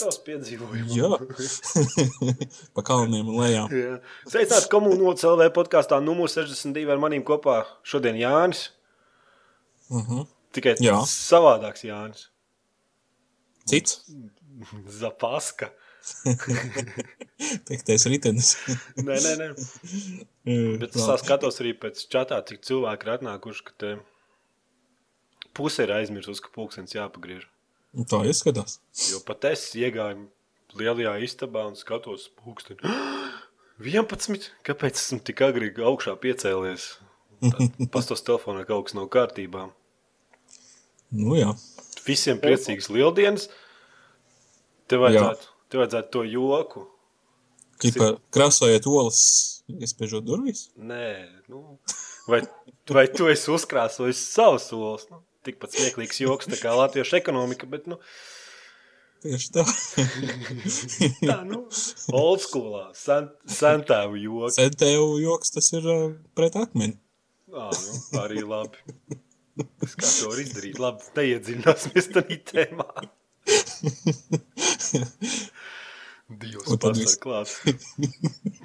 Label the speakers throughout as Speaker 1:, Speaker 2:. Speaker 1: piedzīvojumu.
Speaker 2: Jā, pa kalniem un lejām.
Speaker 1: Jā. Sveicināts komunālajā CLV podkāstā numur 62 ar maniem kopā šodien Jānis.
Speaker 2: Uh -huh.
Speaker 1: Tikai
Speaker 2: Jā.
Speaker 1: savādāks Jānis.
Speaker 2: Cits,
Speaker 1: Zapaska.
Speaker 2: piektais ritenis.
Speaker 1: Nē, nē, nē. Bet es tā skatos arī pēc čatā, cik cilvēki ir atnākuši, ka te puse ir aizmirsusi, ka pulkstenis jāpagriež.
Speaker 2: Nu, Tā izskatās.
Speaker 1: Jo pat es iegāju lielajā istabā un skatos pulksteni. 11. Kāpēc esmu tik agri augšā piecēlies? Tad Pastos telefonā, ka kaut kas nav kārtībā.
Speaker 2: Nu, jā.
Speaker 1: Visiem priecīgs lieldienas. Tev vajadzētu, tev vajadzētu to joku.
Speaker 2: Kā krāsojot olas, iespiežot durvis.
Speaker 1: Nē, nu, vai, vai tu esi uzkrāsojis savus solus? Nu, tikpat smieklīgs joks, tā kā latviešu ekonomika, bet nu,
Speaker 2: Tieši tā.
Speaker 1: tā, nu, old schoolā, san- santāvu joks.
Speaker 2: Centēju joks, tas ir ā, pret akmeni.
Speaker 1: Ā, nu, arī labi. Es Kā to var izdarīt? Labi, neiedziļināsimies tajā tēmā. Dievs,
Speaker 2: Un tad
Speaker 1: pasar
Speaker 2: viss.
Speaker 1: klāt.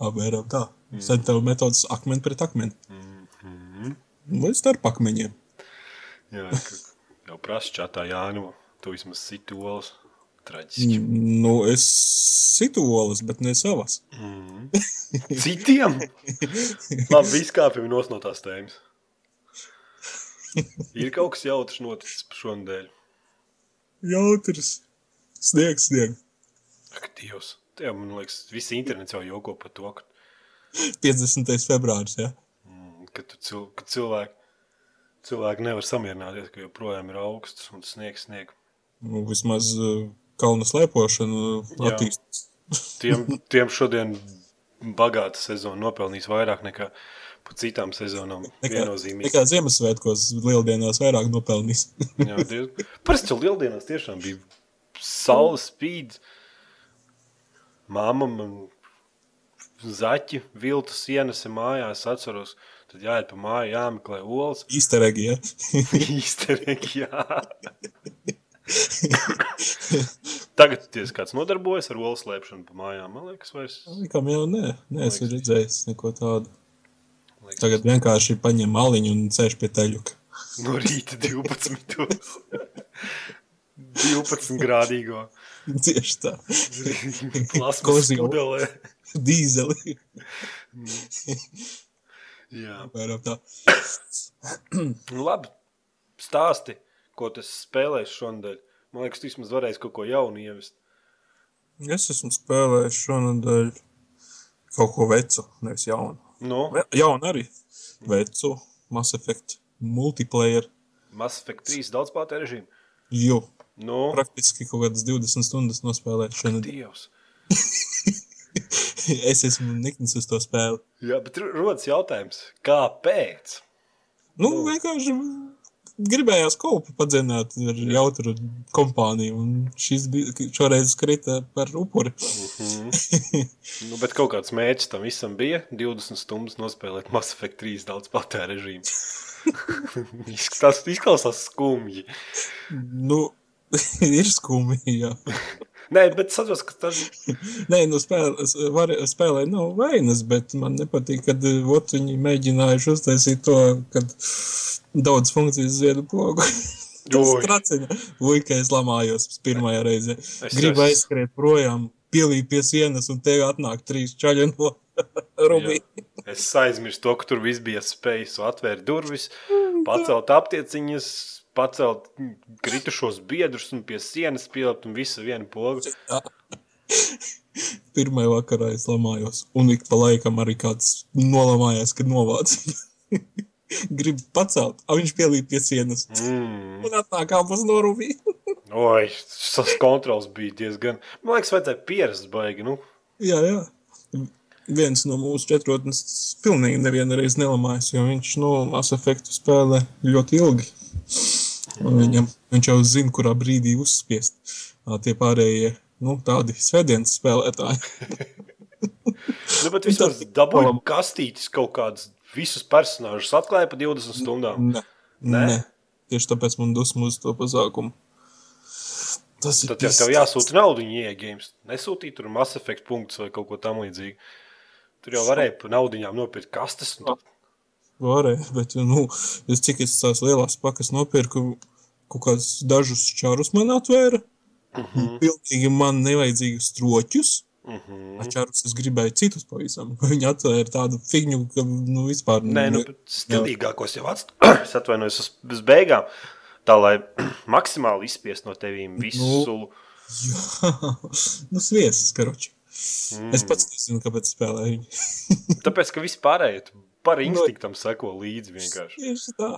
Speaker 2: Apmēram tā. Centēju metodas akmeni pret akmeni.
Speaker 1: Mhm.
Speaker 2: Vai starp akmeņiem?
Speaker 1: Jā, ka- jau prasa čatā Jānu, tu vismaz siti olas. Traģiski.
Speaker 2: Nu, es situ olas, bet ne savas.
Speaker 1: Mhm. Citiem? Labi, viss kāpjam nos no tās tēmas. Ir kaut kas jautrs noticis šonadēļ.
Speaker 2: Jautrs. Sniegs, sniegs.
Speaker 1: Ak, Dievs. Tev, man liekas, visi internets jau joko par to, ka,
Speaker 2: 50. februāris, jā.
Speaker 1: mm, ka, tu cil, ka cilvēki, cilvēki nevar samierināties, ka joprojām ir augsts un sniegs snieg.
Speaker 2: Nu, vismaz uh, kalnu slēpošana
Speaker 1: Jā.
Speaker 2: attīstās.
Speaker 1: Tiem, tiem šodien bagāta sezona nopelnīs vairāk nekā pa citām sezonām viennozīmīgi.
Speaker 2: Tikai Ziemassvētkos, Lieldienās vairāk nopelnīs.
Speaker 1: Jā, diez- Parasti jau lieldienās tiešām bija saule spīd. Māma man zaķi viltu sienese mājās atceros. Tad jāiet pa māju, jāmeklē olas.
Speaker 2: Īsteregi, ja?
Speaker 1: Īsterīgi, jā. Tagad tiesa kāds nodarbojas ar olas lēpšanu pa mājām. Man liekas, vairs.
Speaker 2: Likam jau nē, nē es
Speaker 1: Liekas.
Speaker 2: esmu redzējis neko tādu.
Speaker 1: Liekas,
Speaker 2: Tagad vienkārši paņem maliņu un sēž pie teļuka.
Speaker 1: No rīta 12. 12 grādīgo.
Speaker 2: Tieši tā.
Speaker 1: Plasmas
Speaker 2: Kozi-
Speaker 1: pudelē.
Speaker 2: Dīzeli.
Speaker 1: Jā.
Speaker 2: Apmēram tā.
Speaker 1: Nu, labi, stāsti, ko tas spēlēs šonadēļ. Man liekas, tu vismaz varēsi kaut ko jaunu ievest.
Speaker 2: Es esmu spēlējis šonadēļ kaut ko vecu, nevis jaunu.
Speaker 1: No
Speaker 2: Ve- Jaunu arī. Vecu, Mass Effect, multiplayer.
Speaker 1: Mass Effect 3 daudz pāri režīmu.
Speaker 2: Jo,
Speaker 1: No
Speaker 2: praktiski kaut kādas 20 stundas nospēlēt šonadēļ.
Speaker 1: Dievs.
Speaker 2: es esmu niknis uz to spēli.
Speaker 1: Jā, bet ro- rodas jautājums, kāpēc?
Speaker 2: Nu,
Speaker 1: Nu.
Speaker 2: vienkārši gribējās kopu padzināt ar jautru kompāniju, un šis bija šoreiz krita par upuri.
Speaker 1: Nu, bet kaut kāds mērķis tam visam bija 20 stundas nospēlēt Mass Effect 3 daudz pāri režīmu. Tas izklausās skumji.
Speaker 2: nu, ir skumji, jā.
Speaker 1: Nē, bet saprotu, ka tas
Speaker 2: Nē, nu, spēlē, var, spēlē nav vainas, bet man nepatīk, kad eh, ot, viņi mēģinājuši uztaisīt to, kad daudz funkcijas uz vienu pogu.
Speaker 1: Oi.
Speaker 2: Tas tracina. Ui, ka es lamājos pirmajā reizē.
Speaker 1: Es
Speaker 2: Gribu
Speaker 1: jau-
Speaker 2: aizskriet projām, pielīp pie sienas, un tev atnāk trīs čaļi no rubī.
Speaker 1: Jā. Es aizmirsu to, ka tur viss bija spējis atvērt durvis, pacelt aptieciņas, pacelt mm, kritušos biedrus un pie sienas pielikt un visu vienu pogu.
Speaker 2: Pirmā vakarā es lamājos, un ik pa laikam arī kāds nolamājās, kad novācis. Gribu pacelt, ah, viņš pielīp pie sienas.
Speaker 1: Mm.
Speaker 2: Un atnāk abas no rubī.
Speaker 1: Oi, tas kontrols bija diezgan. Man liekas, vajadzēja pierast baigi. Nu,
Speaker 2: jā, jā. Viens no mūsu četrotnes pilnīgi nevienu reizi nelamājās, jo viņš, nu, Mass Effectu spēlē ļoti ilgi. Un Viņam, viņš jau zina, kurā brīdī uzspiest Ah, tie pārējie, nu, tādi svētdienas spēlētāji.
Speaker 1: nu bet vismaz dabūju kastītis kaut kādus visus personāžus
Speaker 2: Mm,
Speaker 1: atklāja pa 20 stundām.
Speaker 2: Nē,
Speaker 1: Nē?
Speaker 2: Nē. Tieši tāpēc man dusmas uz to pasākumu. Tas ir
Speaker 1: Tad jau tev jāsūta naudu, ja games nesūtīja tur Mass Effect punktus vai kaut ko tamlīdzīgu. Tur jau varēja par naudu nopirkt kastes. un tad-
Speaker 2: Varēja, bet, nu, es cik es tās lielās pakas nopirku, kaut kādus dažus čārus man atvēra.
Speaker 1: Mhm,
Speaker 2: Pilnīgi man nevajadzīgus troķus.
Speaker 1: mhm.
Speaker 2: Mm. Čārus es gribēju citus pavisam. Viņi atvēra tādu figņu, ka, nu, vispār.
Speaker 1: Nē, nu, bet stilīgākos jau atstāju. Es atvainojos uz- uz beigām. Tā lai maksimāli izspiest no
Speaker 2: Nu,
Speaker 1: tevis visu.
Speaker 2: Jā, nu, sviests, karoči. Mm.
Speaker 1: Mhm.
Speaker 2: Es pats nezinu, kāpēc spēlēju viņu.
Speaker 1: Tāpēc, ka vispārēji tu par
Speaker 2: Nu,
Speaker 1: instinktam seko līdzi vienkārši.
Speaker 2: Tieši tā.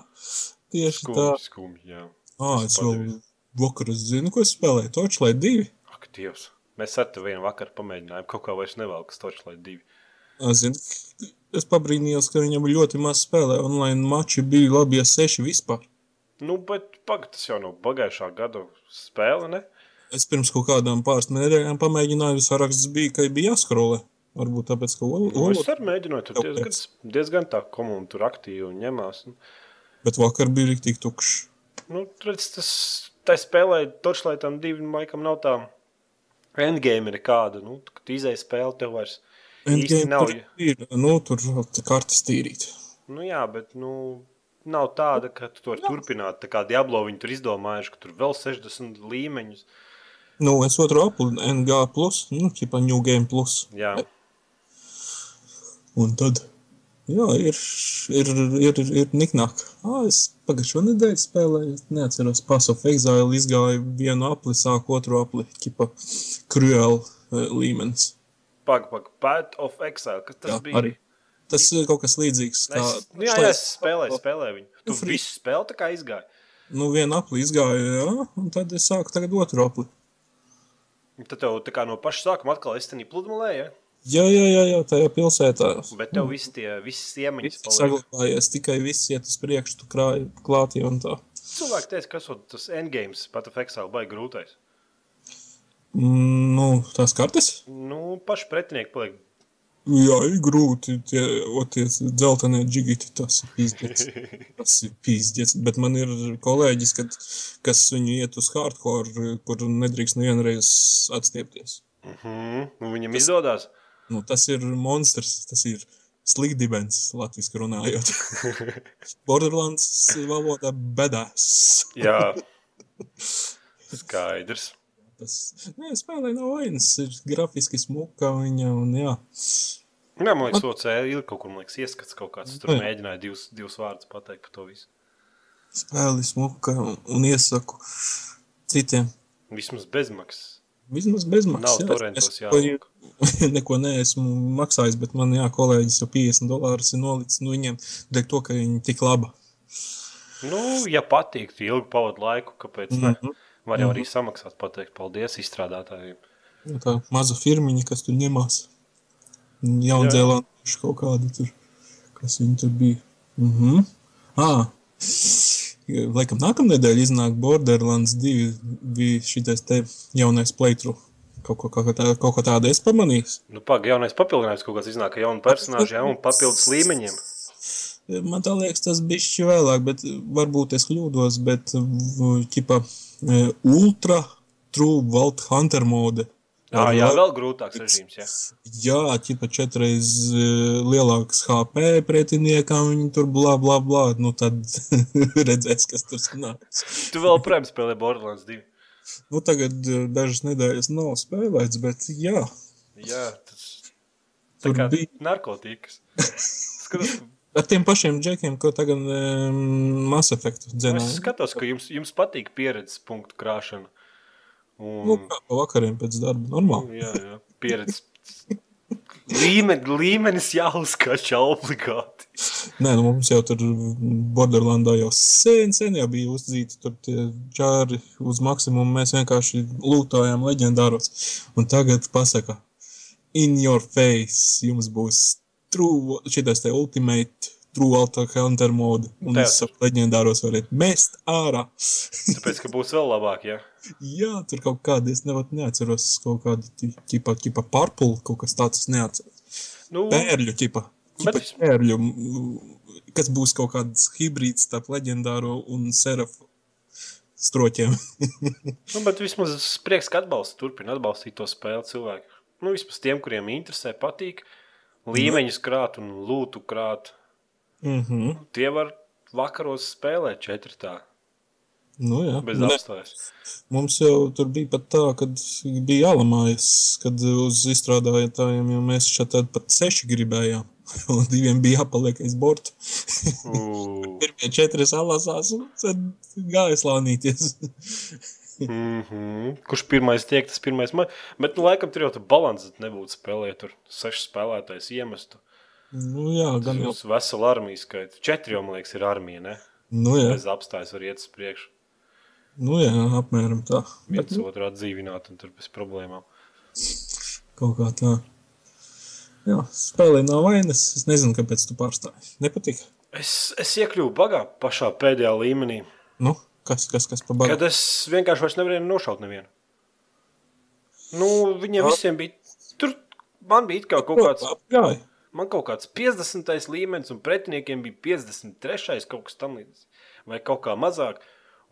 Speaker 2: Tieši Skum. tā.
Speaker 1: Skumji, skumji. jā.
Speaker 2: Ah,
Speaker 1: Es
Speaker 2: es vēl
Speaker 1: padevies.
Speaker 2: vakarā zinu, ko es spēlēju. Torčlai divi.
Speaker 1: Ak, Dievs. Mēs ar tevi vienā vakarā pamēģinājām kaut kā vairs nevelkas točlai divi.
Speaker 2: Ah, Zinu, es pabrīnījos, ka viņam ļoti maz spēlē. Online mači bija labi, ja seši vispār.
Speaker 1: Nu, bet pag, tas jau no pagājušā gada spēle, ne?
Speaker 2: Es pirms kaut kādām pāris nedēļām pamēģināju, saraksts bija, ka bija jāskrolē. Varbūt tāpēc, ka olu,
Speaker 1: Nu, es arī mēģināju, tur
Speaker 2: Tāpēc.
Speaker 1: diezgan, diezgan tā komunu tur aktīvi un ņemās. Un,
Speaker 2: bet vakar bija rīktīgi tukšs.
Speaker 1: nu, redz, tas, tai spēlē točlaitam divi, laikam nav tā endgame nekāda, nu, tu, kad izēja spēle tev vairs. Īsti nav,
Speaker 2: tur ir, nu, tur tā kartes tīrīt.
Speaker 1: Nu, jā, bet, nu, nav tāda, ka tu to var turpināt, tā kā Diablo viņi tur izdomājuši, ka tur vēl 60 līmeņus.
Speaker 2: Nu, es otru apli, NG+, nu, ķipa New Game+. Plus.
Speaker 1: Jā,
Speaker 2: Un tad, jā, ir, ir, ir, ir, ir niknāk. Ah, es pagājušā nedēļa spēlēju, neatceros, Pass of Exile izgāju vienu apli, sāku otru apli, ķipa Cruel eh, līmenis.
Speaker 1: pag, pag, Path of Exile, kas tas jā,
Speaker 2: Jā,
Speaker 1: bija?
Speaker 2: arī. Tas ir kaut kas līdzīgs. Kā,
Speaker 1: Es, nu, jā, jā, es spēlēju, spēlēju viņu. Tu
Speaker 2: Nu, free.
Speaker 1: visu spēli tā kā izgāji.
Speaker 2: Nu, vienu apli izgāju, jā, un tad es sāku tagad otru apli.
Speaker 1: Un Tad tev tā kā no paša sākuma atkal īstenībā pludmalēja,
Speaker 2: Jā, jā, jā, jā tajā pilsētā.
Speaker 1: bet tev visi tie visas iemaņas
Speaker 2: Viss
Speaker 1: paliek.
Speaker 2: saglabājies, tikai viss iet uz priekšu, tu krāji klātī un tā.
Speaker 1: Cilvēki teica, ka esot tas endgames, pat efeksāli, vai grūtais.
Speaker 2: Mm, nu, tās kartes?
Speaker 1: Nu, paši pretinieki paliek.
Speaker 2: Jā, ir grūti. Tie o, tie dzeltenie džigiti, tas ir pīzdēts. Tas ir pīzdēts. Bet man ir kolēģis, kad, kas viņu iet uz hardcore, kur nedrīkst nevienreiz atstiepties.
Speaker 1: Uh -huh. nu, viņam izdodas.
Speaker 2: Nu, tas ir monstrs, tas ir slikdibens, latviski runājot. Borderlands valoda bedās.
Speaker 1: Jā, skaidrs.
Speaker 2: Tas nē, spēlē nav vainas, ir grafiski smuka viņa un jā.
Speaker 1: Jā, man liekas, OCR ir kaut kur man liekas, ieskats kaut kāds. Tur
Speaker 2: Jā.
Speaker 1: mēģināja divus, divus vārdus pateikt par to visu.
Speaker 2: Spēli smuka un, un iesaku citiem.
Speaker 1: Vismaz bezmaksas.
Speaker 2: Vismaz bezmaksas.
Speaker 1: Nav torentos
Speaker 2: jā.
Speaker 1: jābūt.
Speaker 2: Es neko- neko neesmu maksājis, bet man jā, kolēģis jau 50 dolārus ir nolicis. Nu, viņiem dēļ to, ka viņi tik laba.
Speaker 1: Nu, ja patīk, tu ilgi pavadi laiku, kāpēc ne?
Speaker 2: Mhm.
Speaker 1: Var jau arī samaksāt, pateikt paldies izstrādātājiem.
Speaker 2: Nu, tā maza firmiņa, kas tur ņemās. Jaunzēlandieši kaut kādi tur, kas viņi tur bija. Mhm. Ā, Laikam nākamnedēļ iznāk Borderlands 2 bija šitais te jaunais playthrough. Kaut ko, kaut ko tā- kaut ko tādu es pamanīju.
Speaker 1: Nu, pagaidi, jaunais papildinājums kaut kāds iznāk ar jaunu personāžu, jaunu papildus līmeņiem.
Speaker 2: Man tā liekas, tas bija šķiet vēlāk, bet e, varbūt es kļūdos. Bet e, tipā e, ultra true Vault Hunter mode.
Speaker 1: Jā, jā, Nu, vēl grūtāks režīms. Jā.
Speaker 2: Jā, tipā četreiz e, lielāks HP pretiniekam, viņi tur blā, blā, blā. Nu tad redzēs, kas tur sanāks.
Speaker 1: Tu vēl projām spēlē Borderlands 2.
Speaker 2: Nu tagad e, dažas nedēļas nav spēlēts, bet jā,
Speaker 1: Jā, tas tā
Speaker 2: Tur
Speaker 1: kā
Speaker 2: bija-
Speaker 1: narkotikas. Skatos,
Speaker 2: ar tiem pašiem džekiem, ko tagad um, Mass Effect
Speaker 1: nu, es
Speaker 2: dzenā.
Speaker 1: skatos, ka jums, jums patīk pieredzes punktu krāšana.
Speaker 2: Nu,
Speaker 1: Un,
Speaker 2: kā pa vakariem pēc darba, normāli.
Speaker 1: jā, jā, pieredzes. Līmen, līmenis jāuzskača obligāti.
Speaker 2: Nē, nu mums jau tur Borderlandā jau sen, sen jau bija uzdzīti tur tie čāri uz maksimumu. Mēs vienkārši lūtājām leģendāros. Un tagad pasaka, in your face jums būs true, šitais te ultimate, true alta counter mode. Un
Speaker 1: Tā.
Speaker 2: jūs ap leģendāros varat mest ārā.
Speaker 1: Tāpēc, ka būs vēl labāk, ja?
Speaker 2: Jā, tur kaut kādi, es nevat neatceros, kaut kādi ķipa, ķipa purple, kaut kas tāds, es neatceros.
Speaker 1: Nu,
Speaker 2: Pērļu tipa.
Speaker 1: Bet
Speaker 2: tipa
Speaker 1: es-
Speaker 2: Pērļu, m, kas būs kaut kāds hibrīds starp leģendāro un serafu. stroķiem.
Speaker 1: Nu, bet vismaz es prieks, ka atbalsta, turpina atbalstīt to spēli cilvēku. Nu, vismaz tiem, kuriem interesē, patīk līmeņus krāt un lūtu krāt.
Speaker 2: mm -hmm.
Speaker 1: Tie var vakaros spēlēt četrtā
Speaker 2: nu, jā.
Speaker 1: bez
Speaker 2: Ne,
Speaker 1: apstājas.
Speaker 2: Mums jau tur bija pat tā, ka bija jālamājas, kad uz izstrādājotājiem jau mēs šeit tad pat seši gribējām. Un diviem bija jāpaliek aiz borta.
Speaker 1: Ū.
Speaker 2: Pirmie četri salasās, un tad gāja slānīties.
Speaker 1: Mm -hmm. Kurš pirmais tiek, tas pirmais man. Bet, nu, laikam, tur jau tā balanss nebūtu spēlēt. Tur seši spēlētājs iemestu.
Speaker 2: nu, jā,
Speaker 1: Tas
Speaker 2: gan jau.
Speaker 1: būs vesela armija skaita. Četri jau, man liekas, ir armija. Ne?
Speaker 2: Nu, jā,
Speaker 1: Bez apstājas var iet uz priekšu.
Speaker 2: nu, jā, apmēram tā. nu, Bet,
Speaker 1: Viens otru atdzīvināt un tur bez problēmām.
Speaker 2: Kaut kā tā. Jā, spēlē nav vainas. Es nezinu, kāpēc tu pārstāji. Nepatīk.
Speaker 1: Es, es iekļuvu bagā pašā pēdējā līmenī,
Speaker 2: Nu, kas, kas, kas pa
Speaker 1: kad
Speaker 2: bagātu?
Speaker 1: es vienkārši vairs nevarēju nošaut nevienu. Nu, viņiem visiem bija. Tur man bija it kā kaut kāds.
Speaker 2: Apgāja.
Speaker 1: Man kaut kāds 50. līmenis, un pretiniekiem bija 53. kaut kas tamlīdzīgs, vai kaut kā mazāk.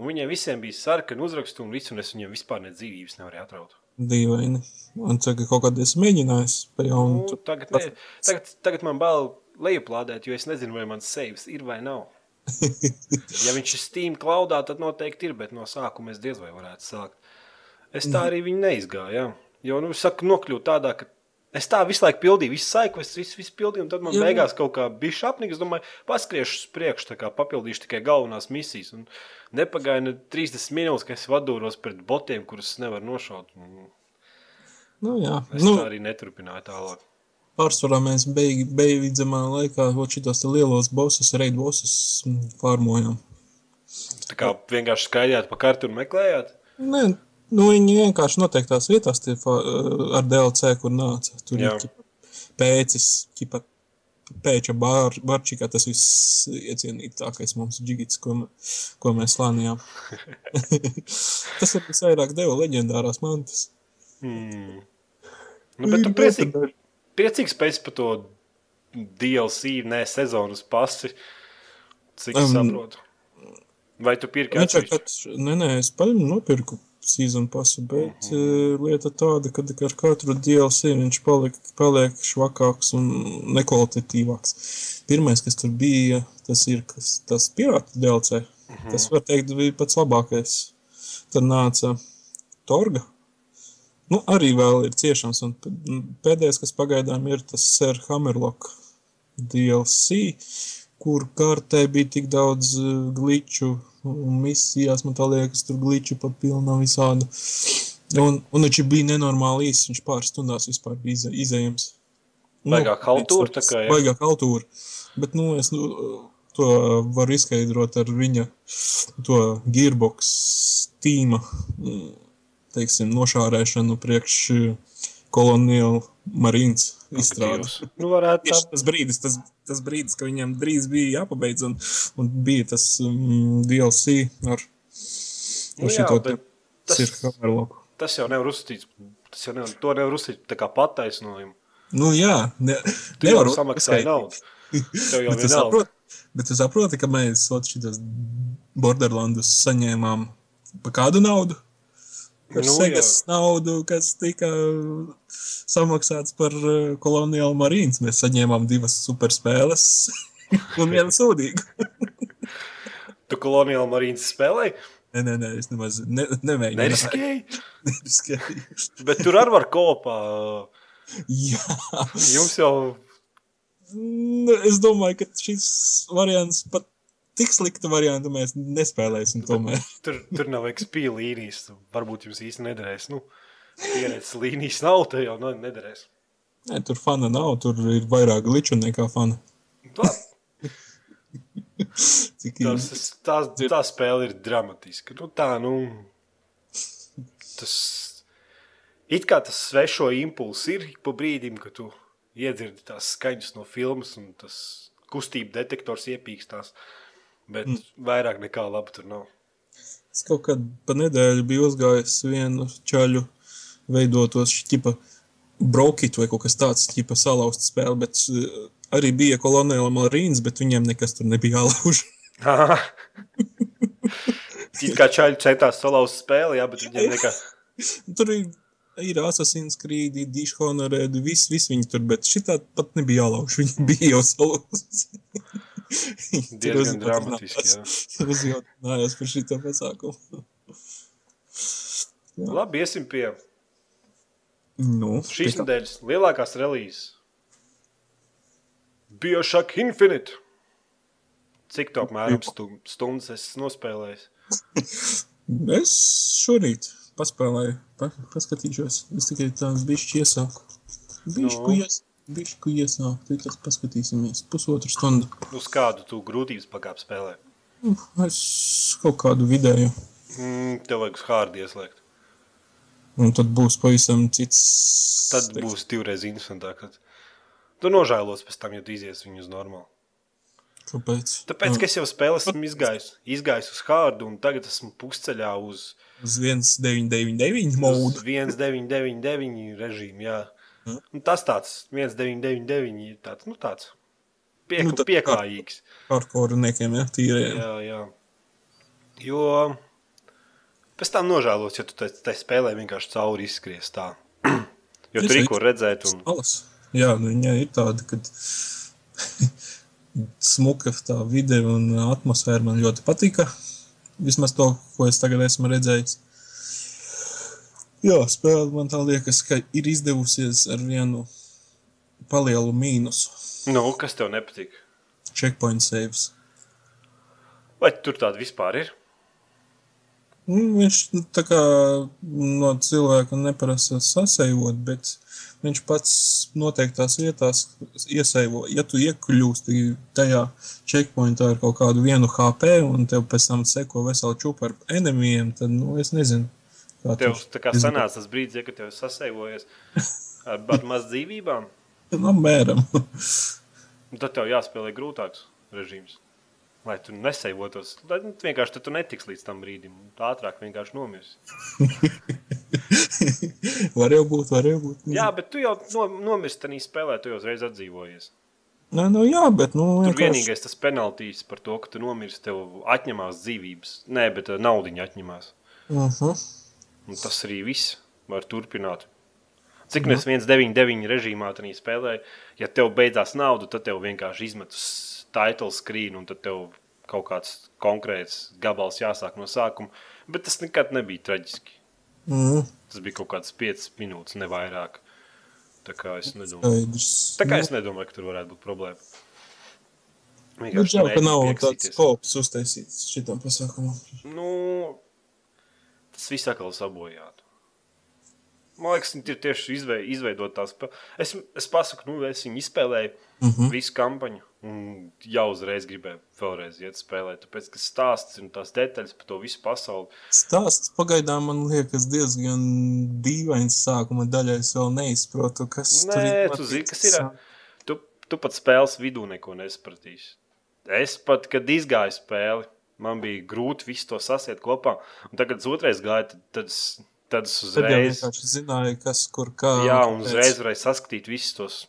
Speaker 1: Un viņiem visiem bija sarkana uzraksts, un, visu, un es viņiem vispār ne dzīvības nevarēju atraut.
Speaker 2: Dīvaini. Un tagad kaut kādā es mēģināju, pa jaunu.
Speaker 1: Nu,
Speaker 2: tur-
Speaker 1: tagad, ne, tagad, tagad man bail lejuplādēt, jo es nezinu, vai mans sevis ir vai nav. Ja viņš ir Steam klaudā, tad noteikti ir, bet no sākuma es diez vai varētu sākt. Es tā arī viņu neizgāju. Ja? Jo, nu, es saku, nokļuvu tādā, ka es tā visu laiku pildīju, visu saiku, es visu, visu pildīju, un tad man
Speaker 2: Jā, jā.
Speaker 1: beigās kaut kā bija šāpnīgi. Es domāju, paskriešu uz priekšu, tā kā papildīšu tikai galvenās misijas. Un nepagāja ne 30 minūtes, ka es vadūros pret botiem, kurus es nevaru nošaut. Un
Speaker 2: Nu, jā,
Speaker 1: Es nu,
Speaker 2: nu,
Speaker 1: tā arī neturpināju tālāk.
Speaker 2: pārsvarā mēs beig- beidzamā laikā vot šitos te lielos bosus, raid bosus mm, farmojam.
Speaker 1: Tā kā vienkārši skaidrojāt pa kartu un meklējāt.
Speaker 2: Nē, nu, viņi vienkārši noteiktās vietās tie fa- ar DLC, kur nāca. Tur
Speaker 1: Jā.
Speaker 2: ir ķipa pēcis, ķipa pēča bar, barčikā, tas viss iecienītākais mums džigits, ko, m- ko mēs slānījām. tas ir visvairāk deva leģendārās mantas.
Speaker 1: Mm. Nu, bet
Speaker 2: Mm,
Speaker 1: tu priecīgi, priecīgs pēc par to DLC, nē, sezonas pasi. Cik um,
Speaker 2: Em,
Speaker 1: saprotu. Vai tu pirki
Speaker 2: Viņš ir
Speaker 1: atsevišķi?
Speaker 2: katrs, nē, nē, es paņēmu nopirku sezonu pasu, bet mm -hmm. lieta tāda, ka ar katru DLC viņš paliek, paliek švakāks un nekvalitatīvāks. Pirmais, kas tur bija, tas ir kas, tas pirāta DLC. Mm -hmm. Tas, var teikt, bija pats labākais. Tad nāca Torga. Nu, arī vēl ir ciešams, un p- nu, pēdējais, kas pagaidām ir tas Sir Hammerlock DLC, kur kartē bija tik daudz eh, glitču, un misijās man tā liekas, tur glitču pa pilnā visāda. Un, un viņš bija nenormāli īsts, viņš pāris stundās vispār bija ize- izējams. Nu,
Speaker 1: Baigā haltūra tā kā, jā.
Speaker 2: Baigā haltūra. Bet, nu, es nu, to varu izskaidrot ar viņa to gearbox tīma, mm, teiksim, nošārēšanu priekš eh, koloniālu marīnas izstrādes.
Speaker 1: Aktīvs. Nu, varētu
Speaker 2: Tieši
Speaker 1: tā.
Speaker 2: tas brīdis, tas, tas brīdis, ka viņam drīz bija jāpabeidz, un, un bija tas um, DLC ar,
Speaker 1: Nu,
Speaker 2: ar
Speaker 1: jā,
Speaker 2: šo
Speaker 1: bet tas-
Speaker 2: tas... kamerloku.
Speaker 1: Tas jau nevar uzskatīt. Tas jau nevar, to nevar uzskatīt tā kā pataisnojumu.
Speaker 2: Nu jā, ne,
Speaker 1: Tu jau
Speaker 2: nevaru
Speaker 1: samaksāji
Speaker 2: uzskaitīt.
Speaker 1: naudu. Tev jau
Speaker 2: Bet
Speaker 1: vienalga.
Speaker 2: tu, saproti, bet tu saproti, ka mēs šitas Borderlandus saņēmām pa kādu naudu? Par
Speaker 1: Nu,
Speaker 2: nu, Segas naudu, kas tika uh, samaksāts par eh, koloniālu marīnas. Mēs saņēmām divas superspēles un vienu sūdīgu.
Speaker 1: Tu koloniāli marīnas spēlēji?
Speaker 2: Nē, nē, nē, es nemaz ne, nemēģināju.
Speaker 1: Neriskēji,
Speaker 2: Neriskēju.
Speaker 1: bet tur arī var kopā.
Speaker 2: Jā,
Speaker 1: Jums jau
Speaker 2: Nu, es domāju, ka šis variants pat tik sliktu variantu mēs nespēlēsim. Tomēr.
Speaker 1: Tur, tur nav XP līnijas. tu- Varbūt jums īsti nederēs. Nu, pieredzes līnijas nav, te jau nu, nederēs.
Speaker 2: Nē, tur fana nav, tur ir vairāk glitču nekā fana.
Speaker 1: Tā,
Speaker 2: Cik
Speaker 1: tas, es- tā, tā spēle ir dramatiska. Nu, tā, nu, tas it kā tas svešo impulsu ir ik pa brīdim, kad tu iedzirdi tās skaņas no filmas un tas kustību detektors iepīkstās. Bet mm. vairāk nekā labi tur nav.
Speaker 2: Es kaut kad pa nedēļu biju uzgājis vienu čaļu veidotos štipa brokīt vai kaut kas tāds, štipa salauzt spēli, bet eh, arī bija kolonēla marīnas, bet viņiem nekas tur nebija jālauž.
Speaker 1: Aha. It kā čaļi centās salauzt spēli, jā, bet viņiem nekā.
Speaker 2: Tur ir, ir Assassin's Creed, Dishonor, viss, viss viņi tur, bet šitā pat nebija jālauž, viņi bija jau salūzis.
Speaker 1: Diezgan dramatiski,
Speaker 2: Uzjautinājās par šito pasākumu.
Speaker 1: Labi, iesim pie
Speaker 2: Nu,
Speaker 1: šīs
Speaker 2: pie tā.
Speaker 1: nedēļas lielākās relīzes. Bioshock Infinite. Cik tā apmēram stum- stundas es nospēlēju?
Speaker 2: Es šorīt paspēlēju, pa, paskatīšos. Es tikai tās bišķi iesāku. Bišķi,
Speaker 1: Nu.
Speaker 2: no. ies, bišķi iesāku, tad tas paskatīsimies. Pusotru stundu.
Speaker 1: Nu, Uz kādu tu grūtības pakāpju spēlē?
Speaker 2: Nu, Es kaut kādu vidēju.
Speaker 1: Mm, tev vajag uz hārdu ieslēgt.
Speaker 2: Un tad būs pavisam cits.
Speaker 1: Tad būs divreiz interesantāk. kad Tu nožēlos pēc tam, ja tu izies viņu uz normālu.
Speaker 2: Kāpēc?
Speaker 1: Tāpēc, ka es jau spēlēju,
Speaker 2: Mm.
Speaker 1: esmu izgājis, izgājis uz hārdu, un tagad esmu pusceļā uz,
Speaker 2: Uz 1999
Speaker 1: uz
Speaker 2: modu.
Speaker 1: 1999 režīmu. Jā.
Speaker 2: Mm.
Speaker 1: Un tas tāds 1999 ir tāds, nu, tāds piek,
Speaker 2: Nu, tad-
Speaker 1: pieklājīgs.
Speaker 2: Hardcore nekiem, ja? Tīrējiem.
Speaker 1: Jā, jā. Jo pēc tam nožēlos, ja tu tai tai spēlē vienkārši cauri izskries tā. jo
Speaker 2: Es
Speaker 1: tur ir
Speaker 2: arī-
Speaker 1: ko redzēt, un
Speaker 2: Alas. Jā, nu viņa ir tāda, ka smuka tā vide un atmosfēra man ļoti patika. Vismaz to, ko es tagad esmu redzējis. Jā, spēle man tā liekas, ka ir izdevusies ar vienu palielu mīnusu.
Speaker 1: nu, kas tev nepatīk?
Speaker 2: Checkpoint saves.
Speaker 1: Vai tur tāda vispār ir?
Speaker 2: Nu, Viņš nu, tā kā no cilvēka neprasa sasejot, bet viņš pats noteiktās vietās iesaistās. Ja tu iekļūsti tajā checkpointā ar kaut kādu vienu HP un tev pēc tam seko vesela čūpa ar enemijiem, tad nu, es nezinu, kā
Speaker 1: Tev tā kā
Speaker 2: Es-
Speaker 1: sanāca tas brīdis, ja, kad tev sasēvojies ar, ar maz dzīvībām,
Speaker 2: Nu, mēram.
Speaker 1: un tad tev jāspēlē grūtāks režīms. Lai tu nesēvotos, tad nu, vienkārši tad tu netiks līdz tam brīdim. Tu ātrāk vienkārši nomirsi.
Speaker 2: var jau būt, var jau būt.
Speaker 1: Jā, bet tu jau no, nomirsti tajā spēlē, tu jau uzreiz atdzīvojies.
Speaker 2: Nē, nu, jā, bet nu,
Speaker 1: Tur
Speaker 2: vienkārši
Speaker 1: vienīgais tas penaltīs par to, ka tu nomirsti, tev atņemās dzīvības. Nē, bet eh, naudiņa atņemās.
Speaker 2: uh -huh.
Speaker 1: Un Nu, tas arī viss var turpināt. Cik
Speaker 2: Nu.
Speaker 1: mēs 1,99 režīmā tādā spēlējām, ja tev beidzās nauda, tad tev vienkārši izmet uz title screen, un tad tev kaut kāds konkrēts gabals jāsāk no sākuma. Bet tas nekad nebija traģiski.
Speaker 2: mm,
Speaker 1: Tas bija kaut kāds 5 minūtes, ne vairāk. Tā kā es nedomāju,
Speaker 2: skaidrs.
Speaker 1: tā kā es nedomāju ka tur varētu būt problēma.
Speaker 2: Nu, žēl, ka
Speaker 1: mēģini
Speaker 2: nav tāds
Speaker 1: piekasīties.
Speaker 2: kops uztaisīts šitam pasākumam.
Speaker 1: Nu, tas viss atkal sabojāts. Man liekas, viņi ir tieši izvei- izveidot tās spēles. Es, es pasaku, nu, es viņu izspēlēju
Speaker 2: Uh -huh.
Speaker 1: visu kampaņu, un jau uzreiz gribēju vēlreiz iet spēlēt. Tāpēc, ka stāsts un tās detaļas par to visu pasauli.
Speaker 2: Stāsts pagaidām man liekas diezgan dīvains sākuma daļā. Es vēl neizprotu, kas tur
Speaker 1: Nē, tu zini, kas ir. Tu, tu pat spēles vidū neko nesapratīsi. Es pat, kad izgāju spēli, man bija grūti visu to sasiet kopā. Un tagad, kad otrais gāja, tad, tad, es- tad es
Speaker 2: Tad jau
Speaker 1: uzreiz.
Speaker 2: vienkārši zināju, kas kur kā.
Speaker 1: Jā,
Speaker 2: un
Speaker 1: un
Speaker 2: kāpēc.
Speaker 1: uzreiz varēja saskatīt visus tos.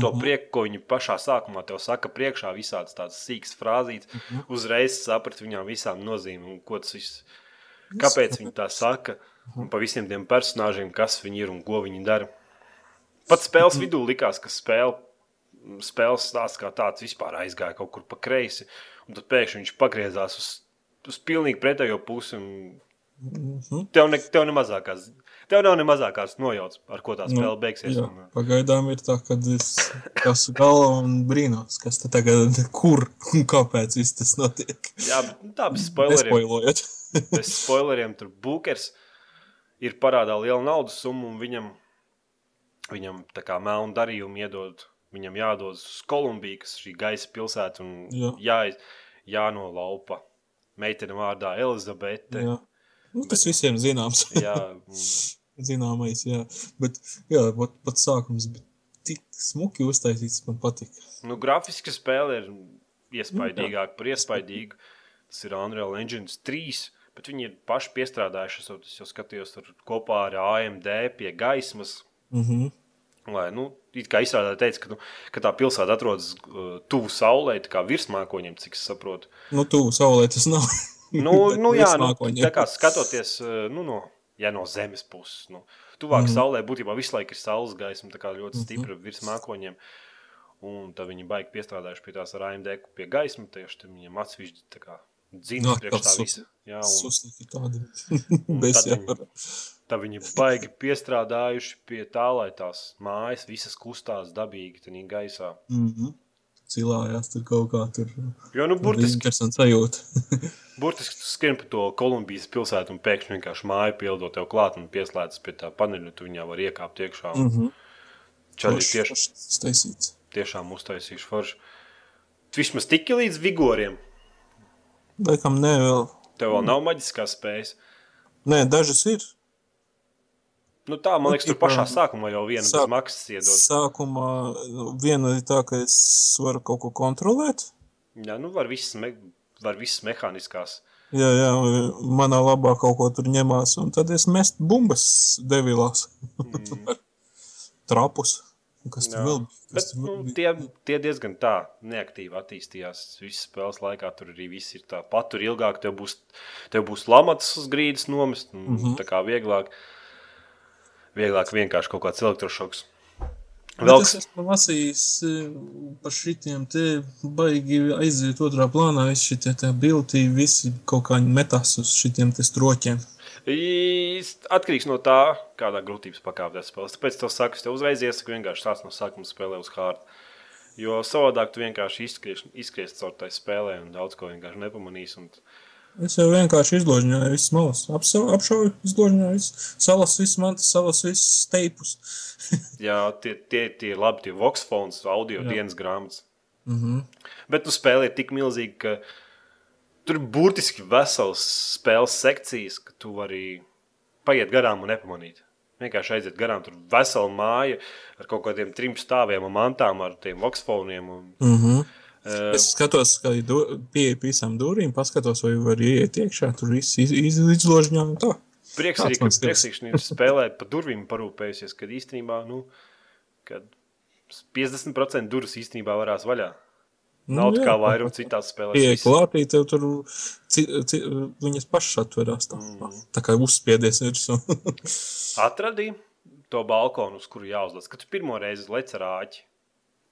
Speaker 1: To prieku, ko viņi pašā sākumā te saka, priekšā visādas tādas sīkas frāzītas, uzreiz saprast viņām visām nozīmēm, ko tas viss, kāpēc viņi tā saka, un pa visiem tiem personāžiem, kas viņi ir un ko viņi dara. Pat spēles vidū likās, ka spēle, spēles stāsts kā tāds vispār aizgāja kaut kur pa kreisi, un tad pēkšņi viņš pagriezās uz, uz pilnīgi pretējo pusi, un
Speaker 2: Mhm.
Speaker 1: tev, ne, tev, ne mazākās, tev nav ne mazākās nojauts, ar ko tā
Speaker 2: Nu,
Speaker 1: spēle beigsies.
Speaker 2: Jā,
Speaker 1: un, uh,
Speaker 2: pagaidām ir tā, ka es esmu galā un brīnos, kas te tagad kur un kāpēc viss tas notiek.
Speaker 1: Jā, bet nu, tā bez spoileriem.
Speaker 2: Nespoilojot.
Speaker 1: Bez spoileriem tur Bookers ir parādā liela naudas summa, un viņam, viņam tā kā melnu darījumu iedod. Viņam jādodas uz Kolumbiju, kas ir šī gaisa pilsēta, un jā.
Speaker 2: Jā.
Speaker 1: Jā, jānolaupa meitene vārdā Elizabete.
Speaker 2: Jā. Nu, tas visiem zināms.
Speaker 1: Jā, jā un
Speaker 2: Zināmais, jā. Bet, jā, pat, pat sākums bija tik smuki uztaisīts, man patika.
Speaker 1: nu, grafiski spēle ir iespaidīgāka par iespaidīgu. Tas ir Unreal Engine 3, bet viņi ir paši piestrādājuši. Es jau- Es jau skatījos tur kopā ar AMD pie gaismas.
Speaker 2: Mm -hmm.
Speaker 1: Lai, nu, it kā izrādās, teica, ka, nu, ka tā pilsēta atrodas uh, tuvu saulei, tā kā virsmā, ko viņam, cik es saprotu.
Speaker 2: Nu, tuvu saulē tas nav.
Speaker 1: Nu, nu, jā, nu,
Speaker 2: Vislākoņi.
Speaker 1: tā kā skatoties eh, nu, no, ja no zemes puses, nu,
Speaker 2: Mhm.
Speaker 1: tuvāk mm. saulē būtībā visu laiku ir saules gaisma, tā kā ļoti stipra virs mākoņiem. Un tad viņi baigi piestrādājuši pie tās ar AMD ku- pie gaismas, tieši tam viņam atsvišķi tā kā
Speaker 2: Nā,
Speaker 1: dzīves
Speaker 2: kā
Speaker 1: priekš tā
Speaker 2: sus-
Speaker 1: visa. Jā, un
Speaker 2: Suslīgi tādi. Bez
Speaker 1: tad viņi-
Speaker 2: jēgas.
Speaker 1: tā viņi baigi piestrādājuši pie tā, lai tās mājas visas kustās dabīgi tajā gaisā.
Speaker 2: Mhm. Cilājās tur kaut kā tur.
Speaker 1: Jo, nu, burtiski
Speaker 2: Interesants sajūta.
Speaker 1: Burtiski tu skribi pa to Kolumbijas pilsētu un pēkšņi vienkārši māja pieldo tev klāt un pieslēdzas pie tā paneļa. un Tu viņā var iekāpt iekšā. Mm.
Speaker 2: Mhm.
Speaker 1: Čaļi tieš,
Speaker 2: Staisīts.
Speaker 1: tiešām uztaisījuši foršu. Vismaz tik līdz vigoriem.
Speaker 2: Laikam nē vēl.
Speaker 1: Tev
Speaker 2: Mm.
Speaker 1: vēl nav maģiskās spējas.
Speaker 2: Nē, dažas ir.
Speaker 1: Nu tā, man liekas, tur
Speaker 2: tipā-
Speaker 1: pašā sākumā jau viena
Speaker 2: Sāk-
Speaker 1: bez maksas iedod.
Speaker 2: Sākumā nu, viena ir tā, ka es varu kaut ko kontrolēt.
Speaker 1: Jā, nu var visas, me, var visas mehāniskās.
Speaker 2: Jā, jā, manā labā kaut ko tur ņemās, un tad es mestu bumbas devilās. Mm. Trapus. Un Kas tur
Speaker 1: Mhm. Jā.
Speaker 2: vēl bija?
Speaker 1: Bet,
Speaker 2: Kas tur
Speaker 1: nu,
Speaker 2: vēl bija?
Speaker 1: tie, tie diezgan tā neaktīvi attīstījās. Visas spēles laikā tur arī viss ir tā. Pat tur ilgāk tev būs, tev būs lamats uz grīdas nomest. Mm
Speaker 2: Mhm.
Speaker 1: -hmm. Tā kā vieglāk, vieglāk vienkārši kaut kāds elektrošoks.
Speaker 2: Bet
Speaker 1: Vēl
Speaker 2: Es
Speaker 1: kas
Speaker 2: esmu lasījis e, par šitiem te baigi aiziet otrā plānā. Visi šitie te bilti, visi kaut kā metās uz šitiem te stroķiem.
Speaker 1: īsti atkarīgs no tā, kādā grūtības pakāpē tas spēlē. Tāpēc tev saka, es tev uzreiz iesaku vienkārši tās no sākuma spēlē uz hārta. Jo savādāk tu vienkārši izskries, izskries caur tai spēlē un daudz ko vienkārši nepamanīsi. Un...
Speaker 2: Es jau vienkārši izložņoju visas malas. Apsa- Apšauju, izložņoju visas salas, visas mantas, salas, visas steipus.
Speaker 1: Jā, tie, tie, tie ir labi, tie voksfons, audio Jā. dienas grāmatas.
Speaker 2: Mhm.
Speaker 1: Bet nu, spēle ir tik milzīga, ka tur ir burtiski vesels spēles sekcijas, ka tu vari paiet garām un nepamanīt. Vienkārši aiziet garām, tur ir vesela māja ar kaut kādiem trim stāviem, un mantām, ar tiem voksfoniem. Un,
Speaker 2: Mhm.
Speaker 1: uh,
Speaker 2: Es skatos, ka ir du- pieeja pie visām durvīm, paskatos, vai var ieiet iekšā. Tur viss iz- iz- izložņā un tā.
Speaker 1: prieks
Speaker 2: kāds
Speaker 1: arī, ka
Speaker 2: mans tips?
Speaker 1: priekšnieks spēlē pa durvīm parūpējusies, kad īstenībā nu, kad 50% durvis īstenībā varēs vaļā. Nav
Speaker 2: Nu,
Speaker 1: tā
Speaker 2: jā,
Speaker 1: kā
Speaker 2: kaut
Speaker 1: vairums citās spēlēs.
Speaker 2: Pieeja
Speaker 1: viss-
Speaker 2: klātī, tev tur ci, ci, viņas pašas atverās. Tā,
Speaker 1: Mm.
Speaker 2: tā kā uzspiedies virsū.
Speaker 1: atradīji to balkonu, uz kuru jāuzliek. Kad tu pirmo reizi leci ar āķi,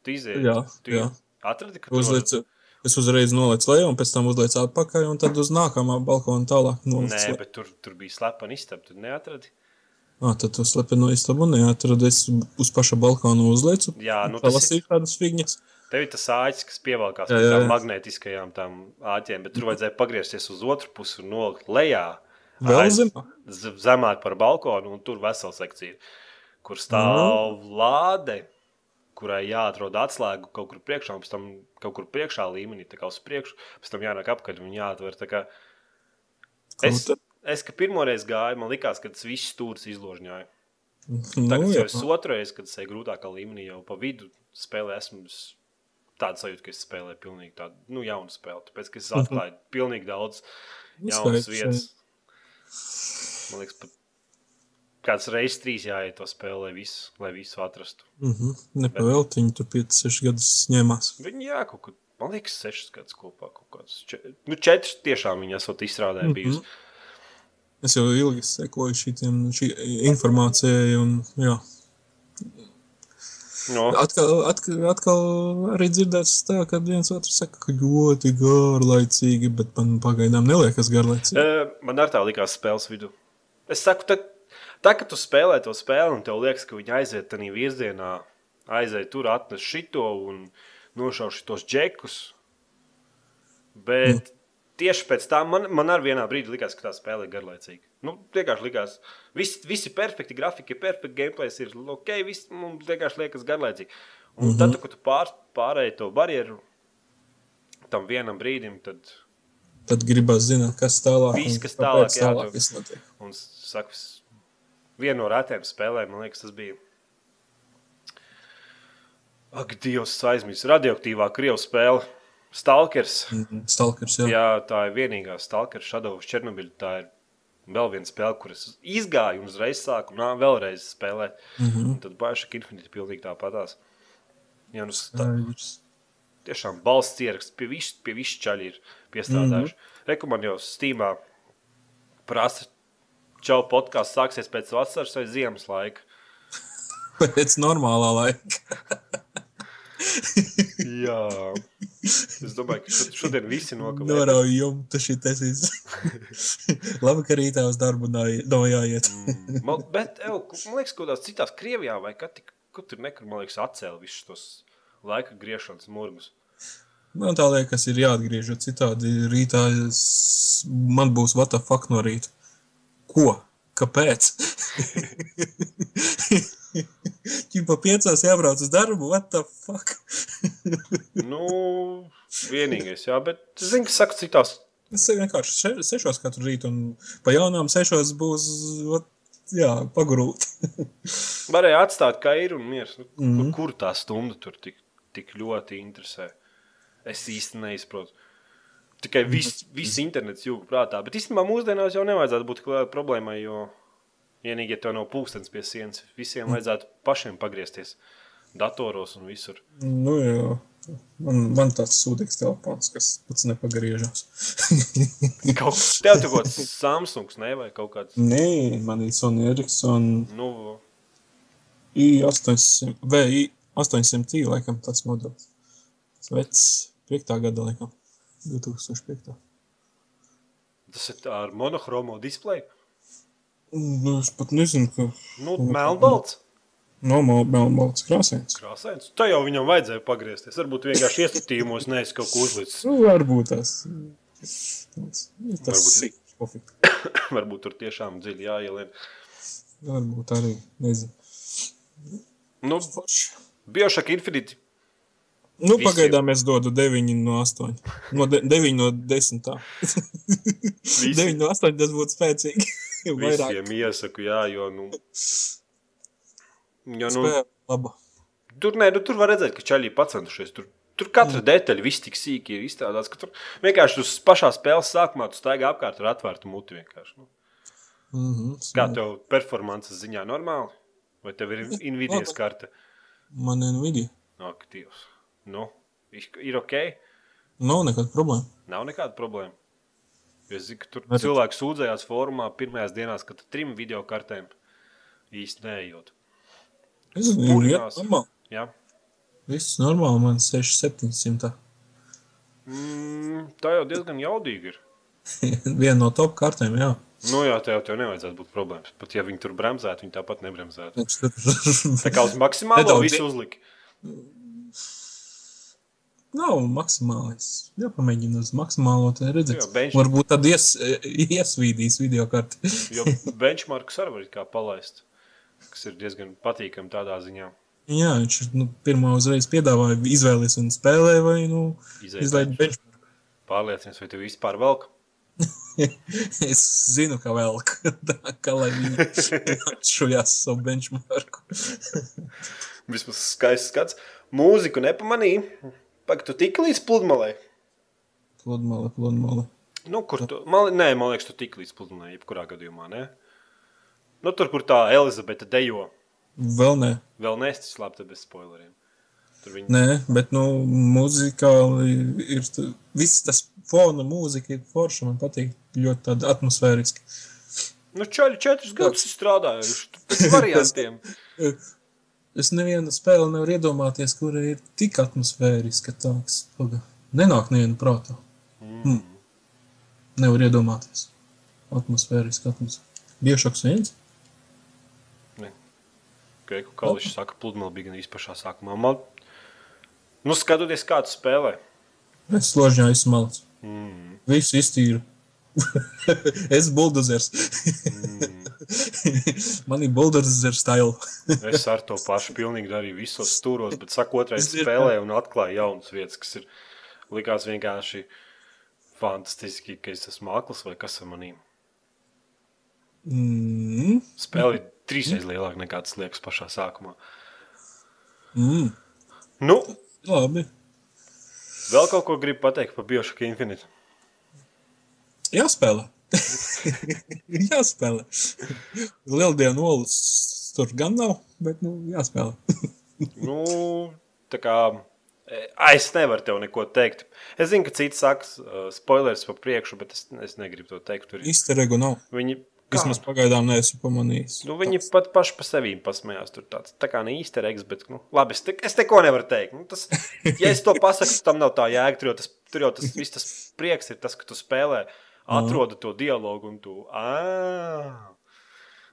Speaker 1: tu izdevies.
Speaker 2: Jā, jā.
Speaker 1: Atradi, ka tu
Speaker 2: Uzliec, es uzreiz nolieku lejā, un pēc tam uzlieku atpakaļ, un tad uz nākamā balkona tālāk
Speaker 1: no-
Speaker 2: nolieku.
Speaker 1: Nē,
Speaker 2: lejā.
Speaker 1: bet tur, tur bija slepeni istaba, tu neatradi.
Speaker 2: Ā, Ah, Tad tu slepeni no istabu neatradies uz paša balkona uzlieku.
Speaker 1: Jā, nu tas
Speaker 2: tas ir tādas figņas.
Speaker 1: Tev ir tas āķis, kas pievelkās pie
Speaker 2: Jā, jā,
Speaker 1: tām
Speaker 2: jā.
Speaker 1: magnetiskajām tām āķiem, bet tur vajadzēja pagriezties uz otru pusi un nolikt lejā.
Speaker 2: Vēl
Speaker 1: aiz-
Speaker 2: zemāk?
Speaker 1: z- Zemāk par balkonu, un tur vesela sekcija, kur stāv lāde, kurai jāatrod atslēgu kaut kur priekšā, un pēc tam kaut kur priekšā līmenī, tā kā uz priekšu, pēc tam jānāk apakaļ un jāatver. tā kā- Es,
Speaker 2: Kaut-
Speaker 1: es kad pirmoreiz gāju, man likās, ka tas viss stūris izložņoja.
Speaker 2: Nu,
Speaker 1: Tagad,
Speaker 2: jā.
Speaker 1: jau es otrreiz, kad es eju grūtākā līmenī, jau pa vidu spēlē, esmu s- tādu sajūtu, ka es spēlēju pilnīgi tādu nu, jaunu spēli. Tāpēc, ka es
Speaker 2: Mhm.
Speaker 1: atklāju pilnīgi daudz jaunas
Speaker 2: Izskaidrs,
Speaker 1: vietas. Man liekas, pat kāds reizes trīs jāiet to spēlē, lai visu, lai visu atrastu.
Speaker 2: Mhm. Nepavēlti viņi tur 5-6 gadus ņēmās.
Speaker 1: Viņi jā, kaut kur, man liekas, sešas gadus kopā kaut kāds. Čet, nu, četras tiešām viņi esot izstrādājuši.
Speaker 2: Mhm.
Speaker 1: Mm -hmm.
Speaker 2: Es jau ilgi sekoju šitiem, šī informācijai. Un, jā.
Speaker 1: no,
Speaker 2: atkal, atkal, atkal arī dzirdēts tā, ka viens otru saka, ka ļoti garlaicīgi, bet man pagaidām neliekas garlaicīgi.
Speaker 1: Eh, Man ar tā likās spēles vidū. Es saku, tā, tā ka tu spēlē to spēli, un tev liekas, ka viņi aiziet tādā virzienā, aiziet tur, atnes šito un nošauš tos džekus. Bet tieši pēc tam man, man arī vienā brīdī likās, ka tā spēle ir garlaicīga. Nu, vienkārši likās, viss, viss ir perfekti, grafika ir perfekta, gameplay ir ok, viss mums vienkārši liekas garlaicīgi. Un mm -hmm. tad, tu, kad tu pār, pārēji to barjeru tam vienam brīdim, tad
Speaker 2: Tad gribas zināt, kas tālāk
Speaker 1: Viss,
Speaker 2: un
Speaker 1: kas
Speaker 2: kāpēc
Speaker 1: tālāk, jā,
Speaker 2: tālāk
Speaker 1: tev-
Speaker 2: viss notiek.
Speaker 1: Un s- saku, s- viena no retām spēlēm, man liekas, tas bija. Ak, Dievs, es aizmirsu. Radioaktīvā krievu spēle. Stalkers.
Speaker 2: Mhm. Stalkers, jā. jā.
Speaker 1: Jā, tā ir vienīgā Stalkers Shadow of Chernobyl. Tā ir vēl viena spēle, kuras izgāju un uzreiz sāku nā, vēlreiz spēlēt. Mm -hmm. Tad Baiša Infinity pilnīgi tāpatās. Jā, nu, tā,
Speaker 2: Tā ir.
Speaker 1: tiešām balsts ieraksts pie visu, pie visu čaļi ir piestrādājuši. Mm -hmm. Rekomendācijā jau Steamā prasa, čau podkāsts sāksies pēc vasaras vai ziemas laika.
Speaker 2: Pēc normālā laika.
Speaker 1: Jā, es domāju, ka šod- šodien viss ir nokavēts.
Speaker 2: Norauj jumtu šitais. Labi, ka rītā uz darbu nāj- nojājiet.
Speaker 1: Man, bet, ev, man liekas, ka kaut kādās citās Krievijā vai kā tik, kur tur nekur, man liekas, atcēla visus tos laika griešanas murgus.
Speaker 2: Man tā liekas, ir jāatgriež, jo citādi rītā es, man būs what the fuck no rīta. Ko? Kāpēc? Viņam pa piecās jābrauc uz darbu, what the fuck?
Speaker 1: Nu, vienīgais, jā, bet zinu, ka saka citās.
Speaker 2: Es vienkārši še- sešos katru rītu, un pa jaunām sešos būs, what, jā, pagrūti.
Speaker 1: Varēja atstāt, kā ir un miers. Nu, mm
Speaker 2: Mhm.
Speaker 1: -hmm. Kur tā stunda tur tik, tik ļoti interesē? Es īsti neizprotu. Tikai viss vis internets jūg prātā. Bet īstenībā mūsdienās jau nevajadzētu būt klā- problēmai, jo vienīgi, ja tev nav pulkstenis pie sienas, visiem vajadzētu pašiem pagriezties datoros un visur.
Speaker 2: Nu, jā. Man, man tāds sūdīgs telefons, kas pats nepagriežas.
Speaker 1: Kaut kas tev tur kaut kāds Samsungs ne, vai kaut kāds.
Speaker 2: Nē, man ir Sony Ericsson
Speaker 1: Nu,
Speaker 2: I800, vai I800, laikam tas modelis. Vecs, 5. gada, laikam. 2005.
Speaker 1: tas ir ar monochromo displeju.
Speaker 2: Nu, es pat nezinu, ka
Speaker 1: Nu, melnbalts.
Speaker 2: nav melnbalts krāsēns.
Speaker 1: Krāsains. Tā jau viņam vajadzēja pagriezties. Varbūt vienkārši ieskatījumos neesmu kaut ko uzlicis.
Speaker 2: Nu, varbūt tas. Tas, tas
Speaker 1: Varbūt.
Speaker 2: ir pofīgi.
Speaker 1: Varbūt tur tiešām dziļi jāielien.
Speaker 2: Varbūt arī, nezinu.
Speaker 1: Nu,
Speaker 2: Forši.
Speaker 1: Biošaka Infinity.
Speaker 2: Nu,
Speaker 1: Visiem.
Speaker 2: pagaidām es dodu 9 no 8. No de, 9 no 10. 9 no 8 tas būtu spēcīgi. Vairāk
Speaker 1: Visiem iesaku, jā, jo, nu, jo, nu
Speaker 2: spēle. Laba.
Speaker 1: tur, nē, nu, tur var redzēt, ka čaļi ir pacentušies. Tur, tur katra detaļa, viss tik sīki ir izstrādāts, ka tur vienkārši uz pašā spēles sākumā tu staigā apkārt ar atvērtu muti vienkārši. Nu.
Speaker 2: Mhm.
Speaker 1: Kā tev performances ziņā normāli? Vai tev ir invidijas karte?
Speaker 2: Man ir nu, vidi.
Speaker 1: Ak, Dievs. Nu, ik- ir ok,
Speaker 2: Nav nekāda problēma.
Speaker 1: nav nekāda problēma. Jo Es zinu, ka tur
Speaker 2: Redz.
Speaker 1: cilvēki sūdzējās formā pirmajās dienās, kad ar trim video kartēm īsti neejot.
Speaker 2: Es domāju, ka
Speaker 1: Purinās.
Speaker 2: tas ir normāli.
Speaker 1: Ja?
Speaker 2: Viss normāli, man 6700.
Speaker 1: Mm, tā jau diezgan jaudīga ir.
Speaker 2: Viena no top kartēm, jā.
Speaker 1: Nu, jā, tev jau nevajadzētu būt problēmas. Pat ja viņi tur bremzētu, viņi tāpat nebremzētu.
Speaker 2: Viņš tur
Speaker 1: Tā kā uz maksimālo
Speaker 2: Nedaudz
Speaker 1: visu
Speaker 2: i-
Speaker 1: uzlika.
Speaker 2: nav maksimālais. Jā, pamēģina uz maksimālo, tad redzēs.
Speaker 1: Jā, bench-
Speaker 2: Varbūt tad ies, iesvīdīs video karti.
Speaker 1: Jo benchmarks arī var it kā palaist, kas ir diezgan patīkami tādā ziņā.
Speaker 2: Jā, viņš ir, nu, pirmā uzreiz piedāvāja, izvēlēties un spēlē, vai nu,
Speaker 1: Izaicinājums.
Speaker 2: izlaiž bench.
Speaker 1: Pārliecinies, vai tev vispār velk.
Speaker 2: Es zinu, ka vēl tā, ka lai viņi atšujās savu benchmarku.
Speaker 1: Vismaz skaists skats. Mūziku nepamanīju. Pagaid, tu tik līdz pludmalei.
Speaker 2: Pludmale, pludmale.
Speaker 1: Nu, kur tu? Man, li- nē, man liekas, tu tik līdz pludmalei, jebkurā gadījumā. Ne? Nu, tur, kur tā Elizabete dejo,
Speaker 2: Vēl nē.
Speaker 1: vēl nestis slēpta bez spoileriem. Tur viņi
Speaker 2: Nē, bet nu, muzikāli ir t- viss tas fona mūzika, ir forša. Man patīk ļoti tāda atmosfēriska.
Speaker 1: nu, čaļi četrus gadus ir strādājuši tu- pēc variantiem.
Speaker 2: Es nevienu spēli nevaru iedomāties, kur ir tik atmosfēriska tāds. Paga. Nenāk nevienu prātā. Mm. Nevar iedomāties. Atmosfēriska atmosfēra. Biešoks viens?
Speaker 1: Kreiku Kališs saka, pludmale bija gan īpašā sākumā. Man, nu, skatoties, kā tu spēlē.
Speaker 2: Es složņā esmu malts.
Speaker 1: Mm.
Speaker 2: Visu iztīru. es buldozers. Man ir buldozers stila.
Speaker 1: Es ar to pašu pilnīgi darīju visos stūros, bet saku, otrais
Speaker 2: Es dzirdu.
Speaker 1: spēlēju un atklāju jaunas vietas, kas ir likās vienkārši fantastiski, ka es esmu māklis vai kas ar manīm.
Speaker 2: Mm.
Speaker 1: Spēle ir trīsreiz lielāka nekā tas liekas pašā sākumā.
Speaker 2: Mm.
Speaker 1: Nu,
Speaker 2: Labi.
Speaker 1: vēl kaut ko gribu pateikt par Biošaku Infinite.
Speaker 2: Jāspēlē. jāspēlē. Lieldienu olas tur gan nav, bet nu, jāspēlē.
Speaker 1: Nu, tā kā Ai, es nevaru tev neko teikt. Es zinu, ka citi saka, uh, spoilers pa priekšu, bet es, es negribu to teikt. Tur ir.
Speaker 2: Izteregu nav.
Speaker 1: Viņi,
Speaker 2: Vismaz pagaidām neesmu pamanījis.
Speaker 1: nu, viņi pat paši par sevi pasmējās. Tur tāds tā kā ne īsti reiks, bet nu, labi, es, te, es neko nevaru teikt. Nu, tas, ja es to pasaku, tam nav tā jēga. Tur jau tas, tur jau tas viss tas prieks ir tas, ka tu spēlē, atrodi to dialogu un tu. "Ā."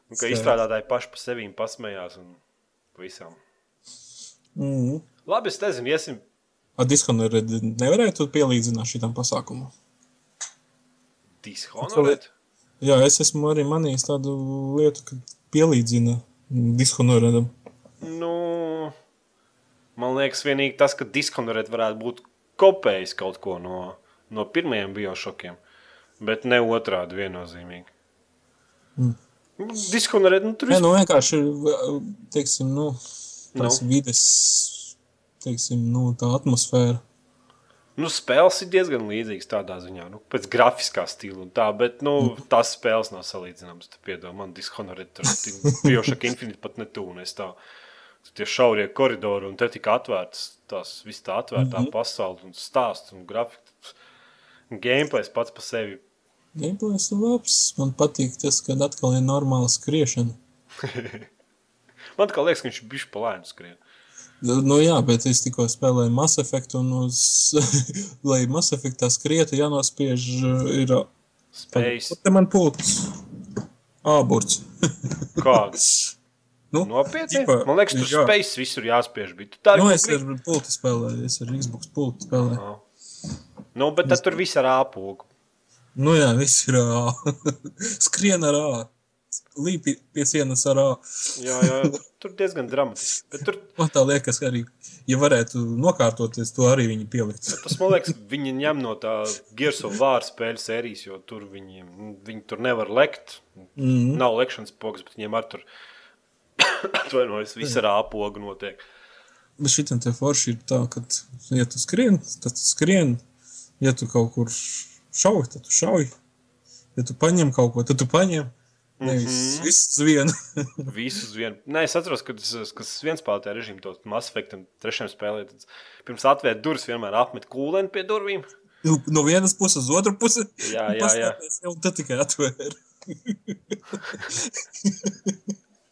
Speaker 1: Nu, ka
Speaker 2: Sē.
Speaker 1: izstrādātāji paši par sevi pasmējās un visam.
Speaker 2: Mm.
Speaker 1: Labi, es nezinu, iesim.
Speaker 2: Ar Dishonored nevarētu pielīdzināt šitam pasākumam.
Speaker 1: Dishonored?
Speaker 2: Jā, es esmu arī manījis tādu lietu, ka pielīdzina Dishonoredam.
Speaker 1: Nu, man liekas, vienīgi tas, ka Dishonored varētu būt kopējis kaut ko no, no pirmajiem biošokiem, bet ne otrādi viennozīmīgi. Mm. Dishonored, nu, tur
Speaker 2: Nē,
Speaker 1: ir.
Speaker 2: nu vienkārši ir, teiksim, nu, tās nu. vides, teiksim, nu, tā atmosfēra.
Speaker 1: Nu, spēles ir diezgan līdzīgas tādā ziņā, nu, pēc grafiskā stila un tā, bet, nu, tās spēles nav salīdzināmas. Tad, piedod, man Dishonored, tur biošoka Infinite pat netūnēs tā. Tie šaurie koridori, un te tika atvērts tās visas tā atvērtā mm
Speaker 2: Mhm.
Speaker 1: -hmm. pasaules un stāsts un grafiks. Gameplays pats par sevi
Speaker 2: Gameplays ir labs, man patīk tas, kad atkal ir normāla skriešana.
Speaker 1: Man kā liekas, ka viņš ir bijis palēns skrien.
Speaker 2: Nu jā, bet es tikko spēlēju Mass Effect, un uz, lai Mass Effectā skrietu, jānospiež uh, ir... uh,
Speaker 1: Spējis
Speaker 2: Kur te man pūtas? Āburts.
Speaker 1: kāds
Speaker 2: Nu,
Speaker 1: nopietni.
Speaker 2: tipā,
Speaker 1: Man liekas, tur
Speaker 2: jā.
Speaker 1: spējis visur jāspiež. bija. Tu Tā
Speaker 2: Nu,
Speaker 1: ir
Speaker 2: es ar pulti spēlēju, es ar Xbox pulti spēlēju.
Speaker 1: Ah. Nu, bet tad tur viss ir āpogu.
Speaker 2: Nu jā, viss ir ā. Skrien ar ā. Līpi pie sienas ar ā.
Speaker 1: Jā, jā, tur diezgan dramatiski. Bet tur,
Speaker 2: Man tā liekas, ka arī, ja varētu nokārtoties, to arī viņi pielikt.
Speaker 1: tas, man liekas, viņi ņem no tā Gersu vāra spēļu sērijas, jo tur viņi, viņi tur nevar lekt.
Speaker 2: Mm.
Speaker 1: Nav lekšanas pogas, bet viņiem ar tur atvainojas, viss ir āpogu notiek.
Speaker 2: Bet šitam te forši ir tā, ka, ja tu skrien, tad tu skrien. Ja tu kaut kur šauj, tad tu šauj. Ja tu paņem kaut ko, tad tu paņem.
Speaker 1: Mhm.
Speaker 2: Nevis mm -hmm. viss uz vienu.
Speaker 1: Visus vienā. Nē, es atceros, ka tas kas viens spēlētājs režīms, to masveiktam, trešajam spēlētājam. Pirms atvērta durvis, vienmēr apmet kūlēni pie durvīm.
Speaker 2: Nu, No vienas puses uz otru pusi.
Speaker 1: Jā,
Speaker 2: un
Speaker 1: jā, jā.
Speaker 2: paskaties, Un tad tikai atvēr.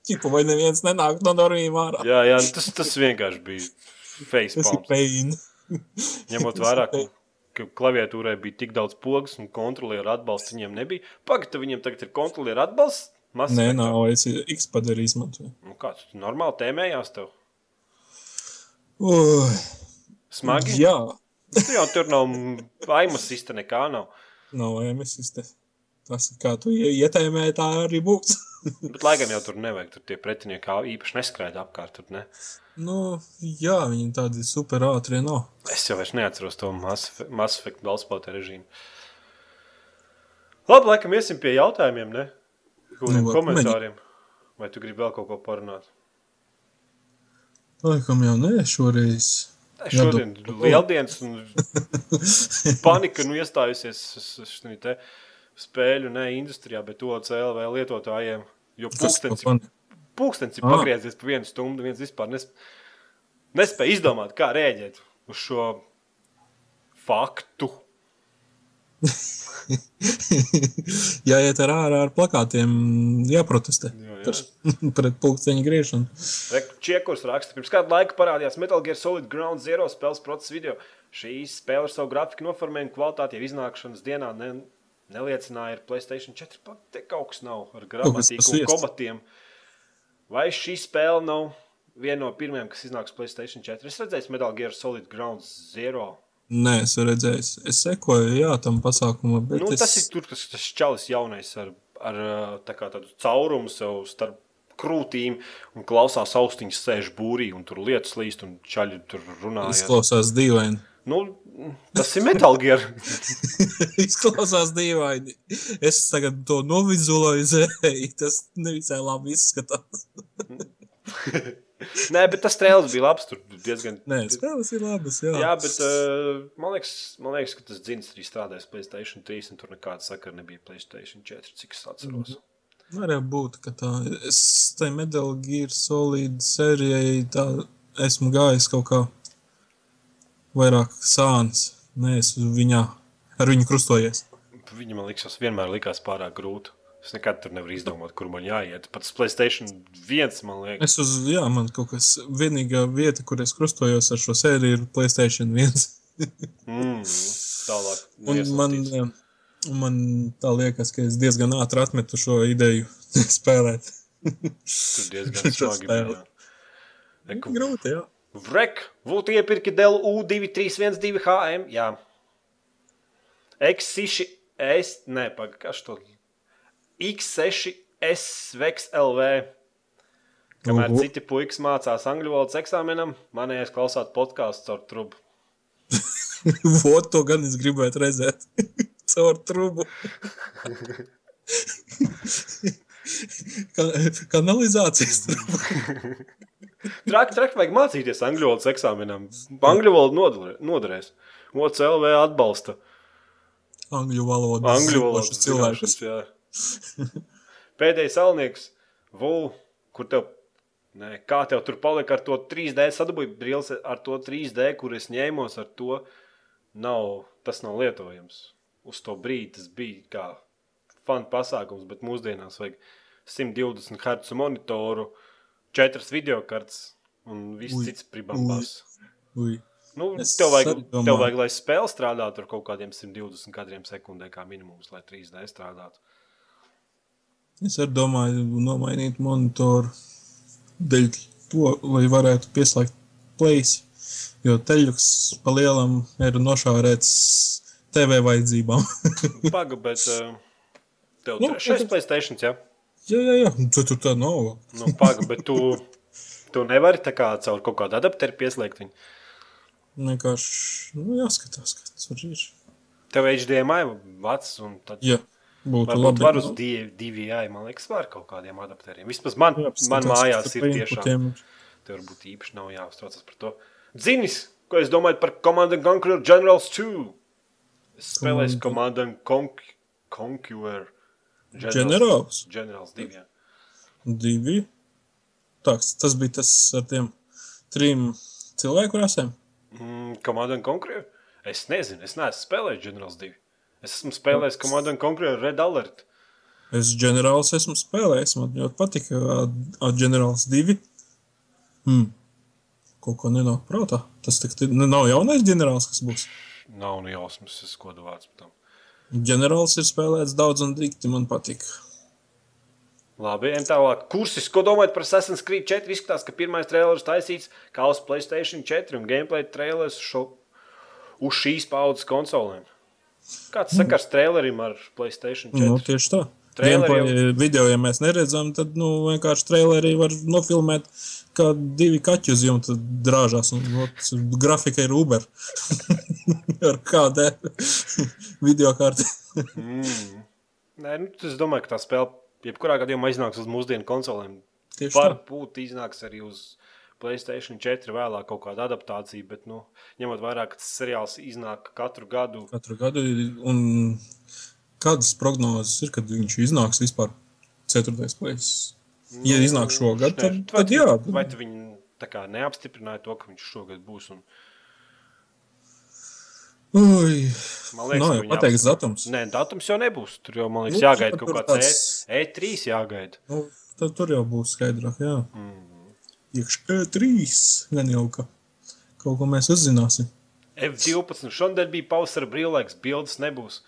Speaker 2: Čipa, vai neviens nenāk no Norvīm ārā?
Speaker 1: Jā, jā nu tas, tas vienkārši bija
Speaker 2: Tas ir
Speaker 1: facepalms.
Speaker 2: pain.
Speaker 1: Ņemot vērā, ka, ka klaviatūrai bija tik daudz pogas un kontrolieru atbalsts viņiem nebija. Pagaidā viņiem tagad ir kontrolieru atbalsts. Mass
Speaker 2: Nē,
Speaker 1: Effectā?
Speaker 2: nav, es X padarīju izmantoju.
Speaker 1: Nu, kāds tu normāli tēmējās tev?
Speaker 2: Ui,
Speaker 1: Smagi.
Speaker 2: Jā,
Speaker 1: Tur jau tur nav vaimas īsta nekā nav.
Speaker 2: nav emisijas te. Tas, kā tu ie- ietēmēji, tā arī būs.
Speaker 1: Bet laikam jau tur nevajag. Tur tie pretinieki ā- īpaši neskraida apkārt. Tur, ne?
Speaker 2: nu, jā, viņi tādi super ātri nav.
Speaker 1: Es jau vairs neatceros to masveida balspēta režīmu. Labi, laikam iesim pie jautājumiem, ne? Kādiem
Speaker 2: Nu, labi,
Speaker 1: komentāriem. Vai tu gribi vēl kaut ko parunāt?
Speaker 2: Laikam jau nē, šoreiz.
Speaker 1: Nē,
Speaker 2: Jā,
Speaker 1: Šodien ir lieldienas un panika nu, iestājusies s- s- šī te spēļu ne industrijā, bet to CLV lietotājiem. Jo
Speaker 2: Kas par
Speaker 1: pulkstenis ir
Speaker 2: fani?
Speaker 1: pulkstenis ir
Speaker 2: Ah.
Speaker 1: pagriezies pa vienu stundu. Viens vispār nes, nespēja izdomāt, kā rēģēt uz šo faktu.
Speaker 2: Jāiet ar ārā ar plakātiem, jāprotestē
Speaker 1: Jā, jā.
Speaker 2: Par, pret pulksteņa griešanu.
Speaker 1: Čiekurs raksta, pirms kāda laika parādījās Metal Gear Solid Ground Zero spēles procesa video. Šī spēle ar savu grafiku noformējumu kvalitāti jau iznākšanas dienā ne, neliecināja ar PlayStation 4. Pat te kaut kas nav ar
Speaker 2: kas
Speaker 1: gramatiku un
Speaker 2: pasviest.
Speaker 1: komatiem. Vai šī spēle nav viena no pirmajām, kas iznāks PlayStation 4? Es redzēju Metal Gear Solid Ground Zero.
Speaker 2: Nē, es redzēju, es- es sekoju jā, tam pasākumam, bet
Speaker 1: Nu,
Speaker 2: es...
Speaker 1: tas ir tur, kas tas čalis jaunais ar, ar ā, tā kā tādu caurumu sev starp krūtīm un klausās austiņas sēž būrī un tur lietas līst un čaļi tur runā.
Speaker 2: Izklausās dīvaini.
Speaker 1: Nu, tas ir Metal Gear.
Speaker 2: Izklausās dīvaini. Es tagad to novizualizēju. Tas nevisai labi izskatās.
Speaker 1: Nē, bet tas trēlis bija labs, tur diezgan.
Speaker 2: Nē, spēles ir labas. Jā,
Speaker 1: Jā, bet uh, man, liekas, man liekas, ka tas dzins arī strādājas Playstation 3, un tur nekāda sakara nebija Playstation 4, cik es atceros. Mm
Speaker 2: varētu būt, ka tā. Es tai Metal Gear Solid sērijai tā esmu gājis kaut kā. vairāk sāns. Nē, es uz viņā, ar viņu krustojies.
Speaker 1: Viņa man liekas, tas vienmēr likās pārāk grūti. Es nekad tur nevaru izdomāt, kur man jāiet. Pats Playstation 1, man liekas,
Speaker 2: Es uz, jā, man kaut kas, vienīgā vieta, kur es krustojos ar šo sēriju, ir Playstation 1.
Speaker 1: mm, tālāk.
Speaker 2: Un man,
Speaker 1: neiesaistīts.
Speaker 2: eh, un man tā liekas, ka es diezgan ātri atmetu šo ideju spēlēt. eh,
Speaker 1: tur diezgan
Speaker 2: šo
Speaker 1: smagi
Speaker 2: spēli.
Speaker 1: bija. Eku,
Speaker 2: Grūti, jā.
Speaker 1: Vrek, būtu iepirki Dell U2312 HM. Jā, X6, S, nē, pagaidi, kas to? X6, S, Vex, LV. Kamēr
Speaker 2: Uhu.
Speaker 1: citi puikas mācās angļu valodas eksāmenam, manējais klausās podkāstu ar trubu.
Speaker 2: Vot to gan es gribētu redzēt. Caur trubu. Ka- Kanalizācijas trubu.
Speaker 1: Traki, traki, vajag mācīties angļu valodas eksāmenam. Angļu valoda nodare- noderēs. OCLV atbalsta
Speaker 2: Angļu valoda.
Speaker 1: angļu valodas
Speaker 2: cilvēks.
Speaker 1: zināšanas, jā. Pēdējais alnieks, Vū, kur tev, nē, kā tev tur palika ar to 3D sadabūju brīlis, ar to 3D, kur es ņēmos ar to, nav, tas nav lietojams. Uz to brīdi tas bija kā fanu pasākums, bet mūsdienās vajag 120 Hz monitoru, 4 video kartes un viss
Speaker 2: Ui,
Speaker 1: cits pribambās.
Speaker 2: Ui.
Speaker 1: Nu,
Speaker 2: Es
Speaker 1: tev, vajag,
Speaker 2: arī domāju.
Speaker 1: tev vajag, lai spēle strādātu ar kaut kādiem 120 kadriem sekundē, kā minimums, lai 3D strādātu.
Speaker 2: Es arī domāju, nomainīt monitoru dēļ to, lai varētu pieslēgt plēsi. Jo teļuks pa lielam ir nošārēts TV vajadzībām.
Speaker 1: Paga, bet eh, tev
Speaker 2: Nu,
Speaker 1: trešais
Speaker 2: es-
Speaker 1: Playstation, ja?
Speaker 2: jā, jā, jā. Tur tur tā nav.
Speaker 1: Nu, paga, bet tu, tu nevari tā kā caur kaut kādu adapteru pieslēgt viņu.
Speaker 2: Vienkārši nu, jāskatās, kas tur ir.
Speaker 1: Tev HDMI vats un tad...
Speaker 2: Jā, būtu
Speaker 1: Varbūt
Speaker 2: labi. nu.
Speaker 1: labi, var uz die- DVI, man liekas, var kaut kādiem adapteriem. Vismaz man,
Speaker 2: Jā,
Speaker 1: man
Speaker 2: apskatās,
Speaker 1: mājās
Speaker 2: kas tur
Speaker 1: ir
Speaker 2: pa
Speaker 1: tiešām.
Speaker 2: inputiem ir.
Speaker 1: Tev varbūt īpaši nav jāuztraucas par to. Zinis, ko es domāju par Command and Conquer Generals 2? Es spēlēju Command and Conquer Conquer
Speaker 2: Generals?
Speaker 1: Generals 2. jā.
Speaker 2: Divi. Tāks, tas bija tas ar tiem trim cilvēku rasēm.
Speaker 1: Mm, Command and Conquer? Es nezinu, es neesmu spēlējis Generals 2. Es esmu spēlējis Command and Conquer Red Alert.
Speaker 2: Es ģenerālis esmu spēlējis, man ļoti patika ar ģenerālis divi. Hmm. Kaut ko nenāk prātā. Tas tik ti- ne- nav jaunais ģenerālis, kas būs.
Speaker 1: Nav nu jausmas, es kodu vārds par tam.
Speaker 2: Ģenerālis ir spēlēts daudz un dikti, man patika.
Speaker 1: Labi, ejam tālāk. Kursis, ko domājat par Assassin's Creed 4? Izskatās, ka pirmais trailers taisīts kā uz Playstation 4 un gameplay trailers šo, uz šīs paudzes konsolēm. Kāds sakars trailerim ar Playstation 4?
Speaker 2: Nu, tieši tā.
Speaker 1: Traileri
Speaker 2: Gameplay Video, ja mēs neredzam, tad nu, vienkārši trailerī var nofilmēt, kā divi kaķi uz jumta drāžās. Un, nu, ot, grafika ir Uber. Ar kādā video kārtu.
Speaker 1: Mm. Nē, nu, es domāju, ka tā spēle jebkurā gadījumā iznāks uz mūsdienu konsolēm.
Speaker 2: Tieši tā.
Speaker 1: Varbūt iznāks arī uz Playstation 4 vēlāk kaut kāda adaptācija, bet, nu, ņemot vairāk, ka tas seriāls iznāk katru gadu.
Speaker 2: Katru gadu ir. un Kādas prognozes ir, kad viņš iznāks vispār? Ceturtais plēsis. Ja iznāk šogad,
Speaker 1: Nē,
Speaker 2: tad,
Speaker 1: vai
Speaker 2: tad jā.
Speaker 1: tu- Vai tu viņu tā kā neapstiprināji to, ka viņš šogad būs? Un,
Speaker 2: Ui,
Speaker 1: man
Speaker 2: nav
Speaker 1: ka
Speaker 2: jau
Speaker 1: viņi
Speaker 2: pateikts
Speaker 1: apstipr-
Speaker 2: datums.
Speaker 1: Nē, datums jau nebūs. Tur jau, man liekas,
Speaker 2: Nu,
Speaker 1: jāgaida
Speaker 2: tur
Speaker 1: kaut kāds
Speaker 2: tāds-
Speaker 1: E- E3 jāgaida.
Speaker 2: Nu, tad tur jau būs skaidrāk. Jā, mm.
Speaker 1: Mhm.
Speaker 2: iekšā trīs gan jau ka kaut ko mēs uzzināsim.
Speaker 1: F12 Nu, šodien bija pavasara brīvlaiks, bildes nebūs.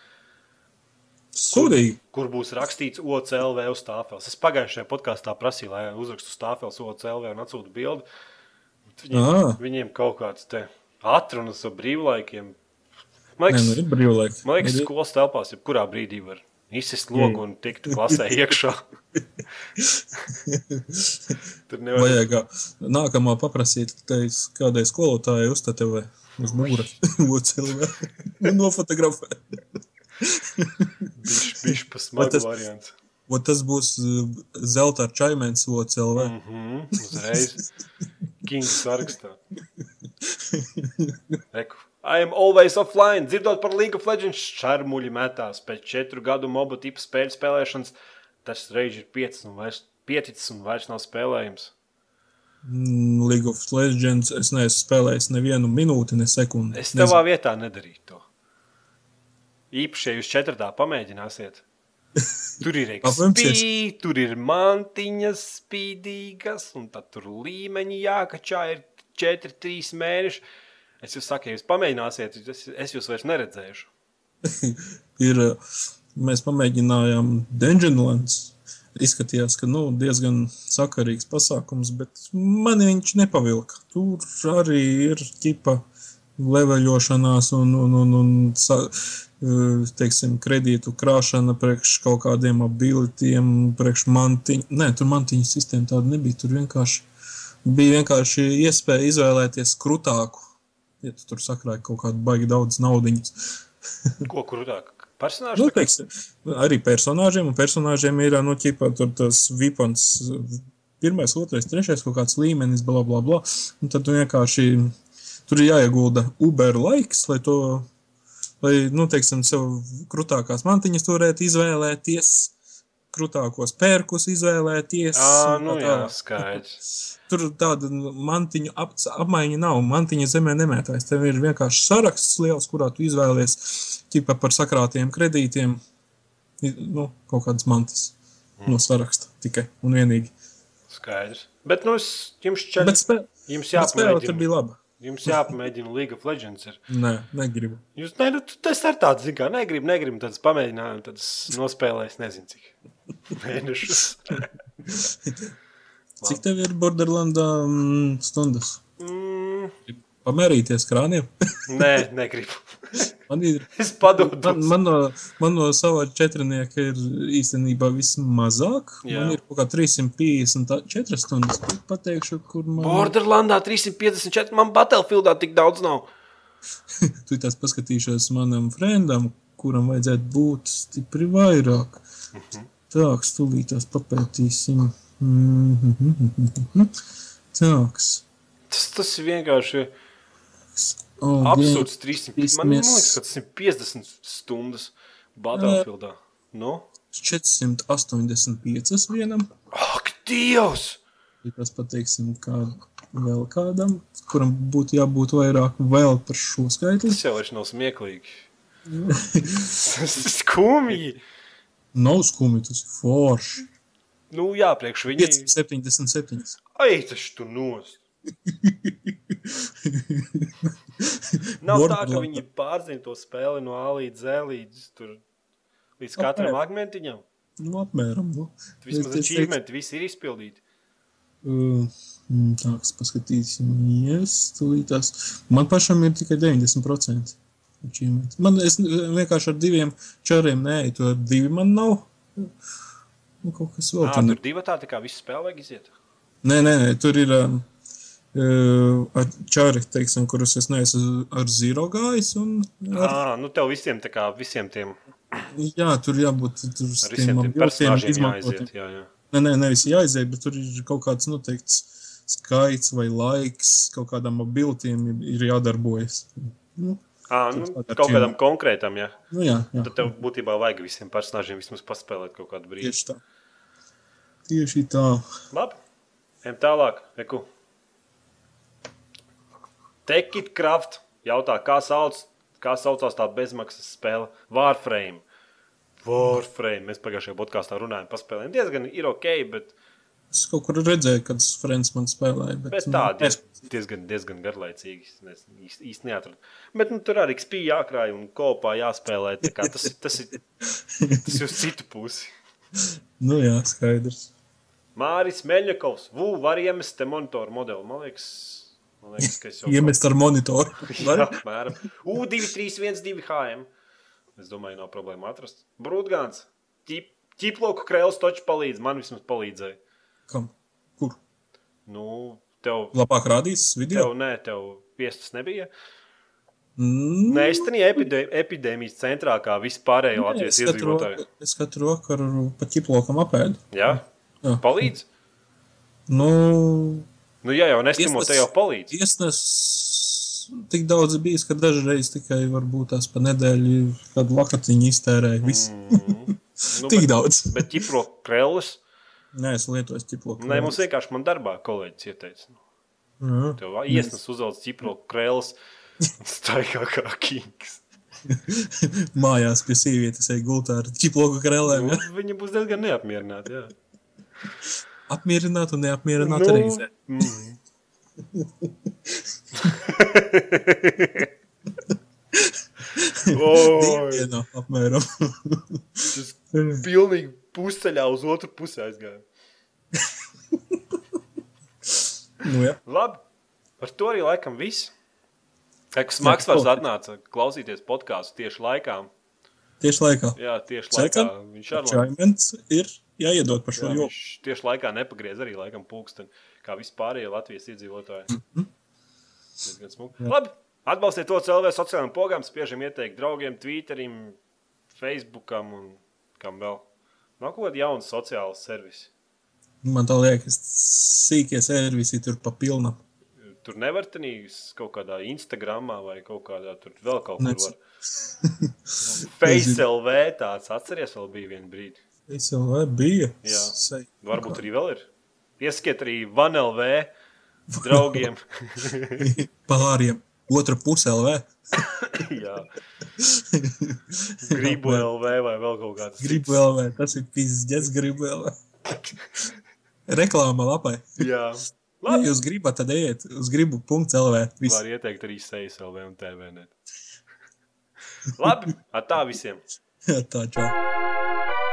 Speaker 2: Sūdīgi.
Speaker 1: Kur būs rakstīts OCLV uz tāfeles? Es pagājušajā podkāstā prasīju, lai uzrakstu uz tāfeles OCLV un atsūtu bildi. Viņiem,
Speaker 2: Ā.
Speaker 1: viņiem kaut kāds te atrunas ar brīvlaikiem. Man
Speaker 2: Nē, nu
Speaker 1: liekas,
Speaker 2: ir brīvlaika.
Speaker 1: Man liekas,
Speaker 2: Ir- Mm.
Speaker 1: skolas telpās jebkurā brīdī var izsist logu un tikt klasē iekšā. Tur nevar
Speaker 2: Vajag ā, nākamā paprasīt, tai s- kādai skolotājai uztatevē uz mūra. Vocilvē. Nofotografē.
Speaker 1: būt bišķi pa smagu
Speaker 2: tas-
Speaker 1: variants.
Speaker 2: Vot tas būs uh, zelta ar čaimēns vocilvē. Mm.
Speaker 1: Mhm, uzreiz. Kinga sarakstā. Reku. I am always offline. Dzirdot par League of Legends, šarmuļi metās. Pēc četru gadu mobu tipu spēļu spēlēšanas tas reiz ir piecas un vairs, pieticis un vairs nav spēlējams.
Speaker 2: Mm, League of Legends es neesmu spēlējis nevienu minūti, ne sekundi.
Speaker 1: Es tavā vietā nedarītu to. Īpaši, ja jūs četrtā pamēģināsiet. Tur ir
Speaker 2: Apņemsies?
Speaker 1: ekspīdi, tur ir mantiņas spīdīgas, un tad tur līmeņi jākačā ir 4, 3 mēneši. Es jums saku, ja jūs pamēģināsiet, es, es jūs vairs neredzēšu.
Speaker 2: ir, uh, mēs pamēģinājām Dungeonlands. Izskatījās, ka nu, diezgan sakarīgs pasākums, bet man viņš nepavilka. Tur arī ir ķipa leveļošanās un, un, un, un sa, uh, teiksim, kredītu krāšana priekš kaut kādiem abilitiem, priekš mantiņu. Nē, tur mantiņu sistēma tāda nebija. Tur vienkārši bija vienkārši iespēja izvēlēties krutāku. Ja tu tur sakrāji kaut kādu baigi daudz naudiņas,
Speaker 1: Ko krūtāk? Personāžs
Speaker 2: Nu,
Speaker 1: nu,
Speaker 2: teiksim, arī personāžiem, un personāžiem ir no ķipā tur tas vipans, pirmais, otrais, trešais kaut kāds līmenis, bla, bla, bla. Un tad tu vienkārši tur ir jāiegulda Uber laiks, lai to, lai, nu, teiksim, sev krutākās mantiņas turēt, izvēlēties, krutākos pērkus izvēlēties.
Speaker 1: à,
Speaker 2: un
Speaker 1: nu,
Speaker 2: tā
Speaker 1: jā,
Speaker 2: tālāk.
Speaker 1: skaidrs.
Speaker 2: Tur tāda mantiņu ap, apmaiņa nav. Mantiņa zemē nemētājas. Tev ir vienkārši saraksts liels, kurā tu izvēlies ķipa par sakrātiem kredītiem. i- Nu, kaut kādas mantas no saraksta tikai un vienīgi.
Speaker 1: skaidrs. Bet nu, es jums
Speaker 2: Bet,
Speaker 1: četri.
Speaker 2: spē,
Speaker 1: Jums
Speaker 2: bet spēle tur
Speaker 1: jāpamēģina.
Speaker 2: bija laba.
Speaker 1: Jums jāpamēģina League of Legends. Ir.
Speaker 2: Nē, negribu.
Speaker 1: Jūs ne, nu, tas ir tāds, zin, kā negribu, negribu tādas pamēģinājumus, tad nospēlēs nezinu cik mēnešus.
Speaker 2: Cik tev ir Borderlandā mm, stundas?
Speaker 1: Mm,
Speaker 2: Pamērīties krāniem.
Speaker 1: nē, negribu.
Speaker 2: Man ir
Speaker 1: Es padodu.
Speaker 2: Man, man, no, man no savā četrnieka ir īstenībā vismazāk.
Speaker 1: Jā.
Speaker 2: Jā. Man ir kaut kā 354 stundas. Pat Pateikšu, kur man ir.
Speaker 1: Borderlandā 354, man Battlefieldā tik daudz nav.
Speaker 2: Tu tās paskatīšos manam frendam, kuram vajadzētu būt stipri vairāk. Tā, stulītās papētīsim. Mhm. Tāks.
Speaker 1: Tas, tas ir vienkārši
Speaker 2: Oh,
Speaker 1: absurds. 300, man
Speaker 2: Mēs-
Speaker 1: liekas, ka tas ir 50 stundas Battlefieldā. Nu?
Speaker 2: 485 vienam.
Speaker 1: Ak, Dievs!
Speaker 2: Ja tas pateiksim, kā vēl kādam, kuram būtu jābūt vairāk vēl par šo skaitli.
Speaker 1: Tas jau vairs nav smieklīgi. Tas ir skumji.
Speaker 2: Nav skumji, tas ir forši.
Speaker 1: Nu, jā, priekš viņiem.
Speaker 2: 577.
Speaker 1: Ai, tas tu nos! Nav tā, ka
Speaker 2: Borderlands.
Speaker 1: viņi pārzina to spēli no A līdz Z līdz, tur, līdz
Speaker 2: Kāpēc?
Speaker 1: katram fragmentiņam.
Speaker 2: Nu, apmēram. Nu.
Speaker 1: Vismaz
Speaker 2: Es- es teiktu,
Speaker 1: achievementi, visi ir izpildīti.
Speaker 2: uh, mm, Tā, kas paskatīsimies, tūlītās. Man pašam ir tikai 90%. achievement. Man es n- vienkārši ar diviem čāriem nē, to ar divi man nav. Nu, kaut kas vēl
Speaker 1: Ā,
Speaker 2: tur
Speaker 1: Tur divi tā, tā kā visu spēli vajag iziet.
Speaker 2: Nē, nē, nē tur ir um, uh, čāri, teiksim, kurus es neesmu ar zīro gājis. Un, ar,
Speaker 1: Ā, nu tev visiem, tā kā, visiem tiem,
Speaker 2: jā, tur jābūt tur uz
Speaker 1: ar visiem tiem personāžiem jāaiziet.
Speaker 2: izmantotiem.
Speaker 1: Jā, jā.
Speaker 2: Nē, nē, nevis jāaiziet, bet tur ir kaut kāds noteikts skaits vai laiks, kaut kādam abilitiem ir, ir jādarbojas. Nu,
Speaker 1: Ā, nu,
Speaker 2: Tur
Speaker 1: kaut kādam konkrētam, jā.
Speaker 2: nu jā, jā.
Speaker 1: Tad tev būtībā vajag visiem personāžiem vismaz paspēlēt kaut kādu brīdi.
Speaker 2: Tieši tā. Tieši tā.
Speaker 1: Labi, ejam tālāk. Reku. Tekit Kraft jautā, kā, sauc, kā saucās tā bezmaksas spēle Warframe. Warframe. Mēs pagājušajā podkāstā runājām par spēlēm. Diezgan ir ok, bet,
Speaker 2: Es kaut kur redzēju, kad Frančs man spēlēja. Bet,
Speaker 1: bet
Speaker 2: nu,
Speaker 1: tā diez,
Speaker 2: es-
Speaker 1: diezgan, diezgan garlaicīgi. Es nes- īsti, īsti neatradu. Bet nu, tur arī spīja jākrāj un kopā jāspēlē. tā kā Tas, tas ir tas ir uz citu pusi.
Speaker 2: Nu, jā, skaidrs.
Speaker 1: Māris Meļņakovs, Vū, var iemest te monitoru modeli. Man liekas, man liekas ka es jau
Speaker 2: Iemest ar monitoru.
Speaker 1: Jā, apmēram. U231, HM. Es domāju, nav problēma atrast. Brūtgāns. Ķip- Ķiploku krēls taču palīdz. Man vismaz palīdzēja.
Speaker 2: Kam? Kur?
Speaker 1: Nu, tev,
Speaker 2: Labāk rādīs video.
Speaker 1: tev, nē, tev piestas nebija.
Speaker 2: Mm,
Speaker 1: Nē, es tenī epide, epidēmijas centrā kā vispārējo Latvijas
Speaker 2: es katru
Speaker 1: iedzīvotāju.
Speaker 2: vakaru- es katru vakaru pa ķiplokam apēdu.
Speaker 1: Jā,
Speaker 2: Jā.
Speaker 1: palīdz.
Speaker 2: Nu,
Speaker 1: Nu, jā, jau nestimo,
Speaker 2: Iestas-
Speaker 1: te jau palīdz.
Speaker 2: tiesnes tik daudz bijis, ka dažreiz tikai varbūt tās pa nedēļu kādu lakatiņu iztērēju. Viss.
Speaker 1: Mm. Nu,
Speaker 2: Tik
Speaker 1: bet,
Speaker 2: daudz.
Speaker 1: bet ķiploku krēls.
Speaker 2: Nē, es lietoju ķiploku.
Speaker 1: Nē, mums vienkārši man darbā kolēģis ieteica. Nu,
Speaker 2: Jā.
Speaker 1: Tev iesnas uzvelc ķipro krēls un staigā kā kings.
Speaker 2: Mājās pie sievietes ej gultā ar ķiploku krēlēm.
Speaker 1: Nu,
Speaker 2: Ja?
Speaker 1: Viņa būs diezgan neapmierināta. jā.
Speaker 2: Apmierināt un neapmierināt nu. reizē.
Speaker 1: mm. Oi,
Speaker 2: Dienā apmēram.
Speaker 1: tas pilnīgi pusceļā uz otru pusi aizgāja.
Speaker 2: nu, jā.
Speaker 1: Labi, ar to arī laikam viss. Eks Maksvars
Speaker 2: paldies.
Speaker 1: atnāca klausīties podkāstu tieši laikā.
Speaker 2: Tieši laikā.
Speaker 1: Jā, tieši laikā.
Speaker 2: Sekam?
Speaker 1: Viņš arī
Speaker 2: Čaimens ir jāiedod par šo
Speaker 1: Jā,
Speaker 2: joku.
Speaker 1: viņš tieši laikā nepagriez arī laikam pulksteni, kā vispārējie Latvijas iedzīvotāji. Diezgan smuki. Labi, atbalstiet to CLV sociālajiem pogām, spiežam ieteikt draugiem, Twitterim, Facebookam un kam vēl. Nav kaut kāda jauna sociāla servisa.
Speaker 2: Man tā liekas, sīkie servisi tur pa pilnam.
Speaker 1: Tur nevar tenīs kaut kādā Instagramā vai kaut kādā tur vēl kaut kur.
Speaker 2: Nec.
Speaker 1: var. Face LV tāds atceries vēl bija vienu brīdi.
Speaker 2: Es jau vai bija.
Speaker 1: Jā.
Speaker 2: Se-
Speaker 1: Varbūt arī vēl ir. Ieskiet arī VanLV draugiem.
Speaker 2: Pāriem. Otra puse LV.
Speaker 1: Jā. Gribu LV vai vēl kaut kādas
Speaker 2: Gribu LV. Tas ir pizdzēs, gribu LV. Reklāma lapai.
Speaker 1: Jā,
Speaker 2: Ja
Speaker 1: labi.
Speaker 2: jūs gribat, tad ejiet uz gribu.lv. Viss.
Speaker 1: Var ieteikt arī sejas LV un TVN. Labi, ar tā visiem.
Speaker 2: Tā čau.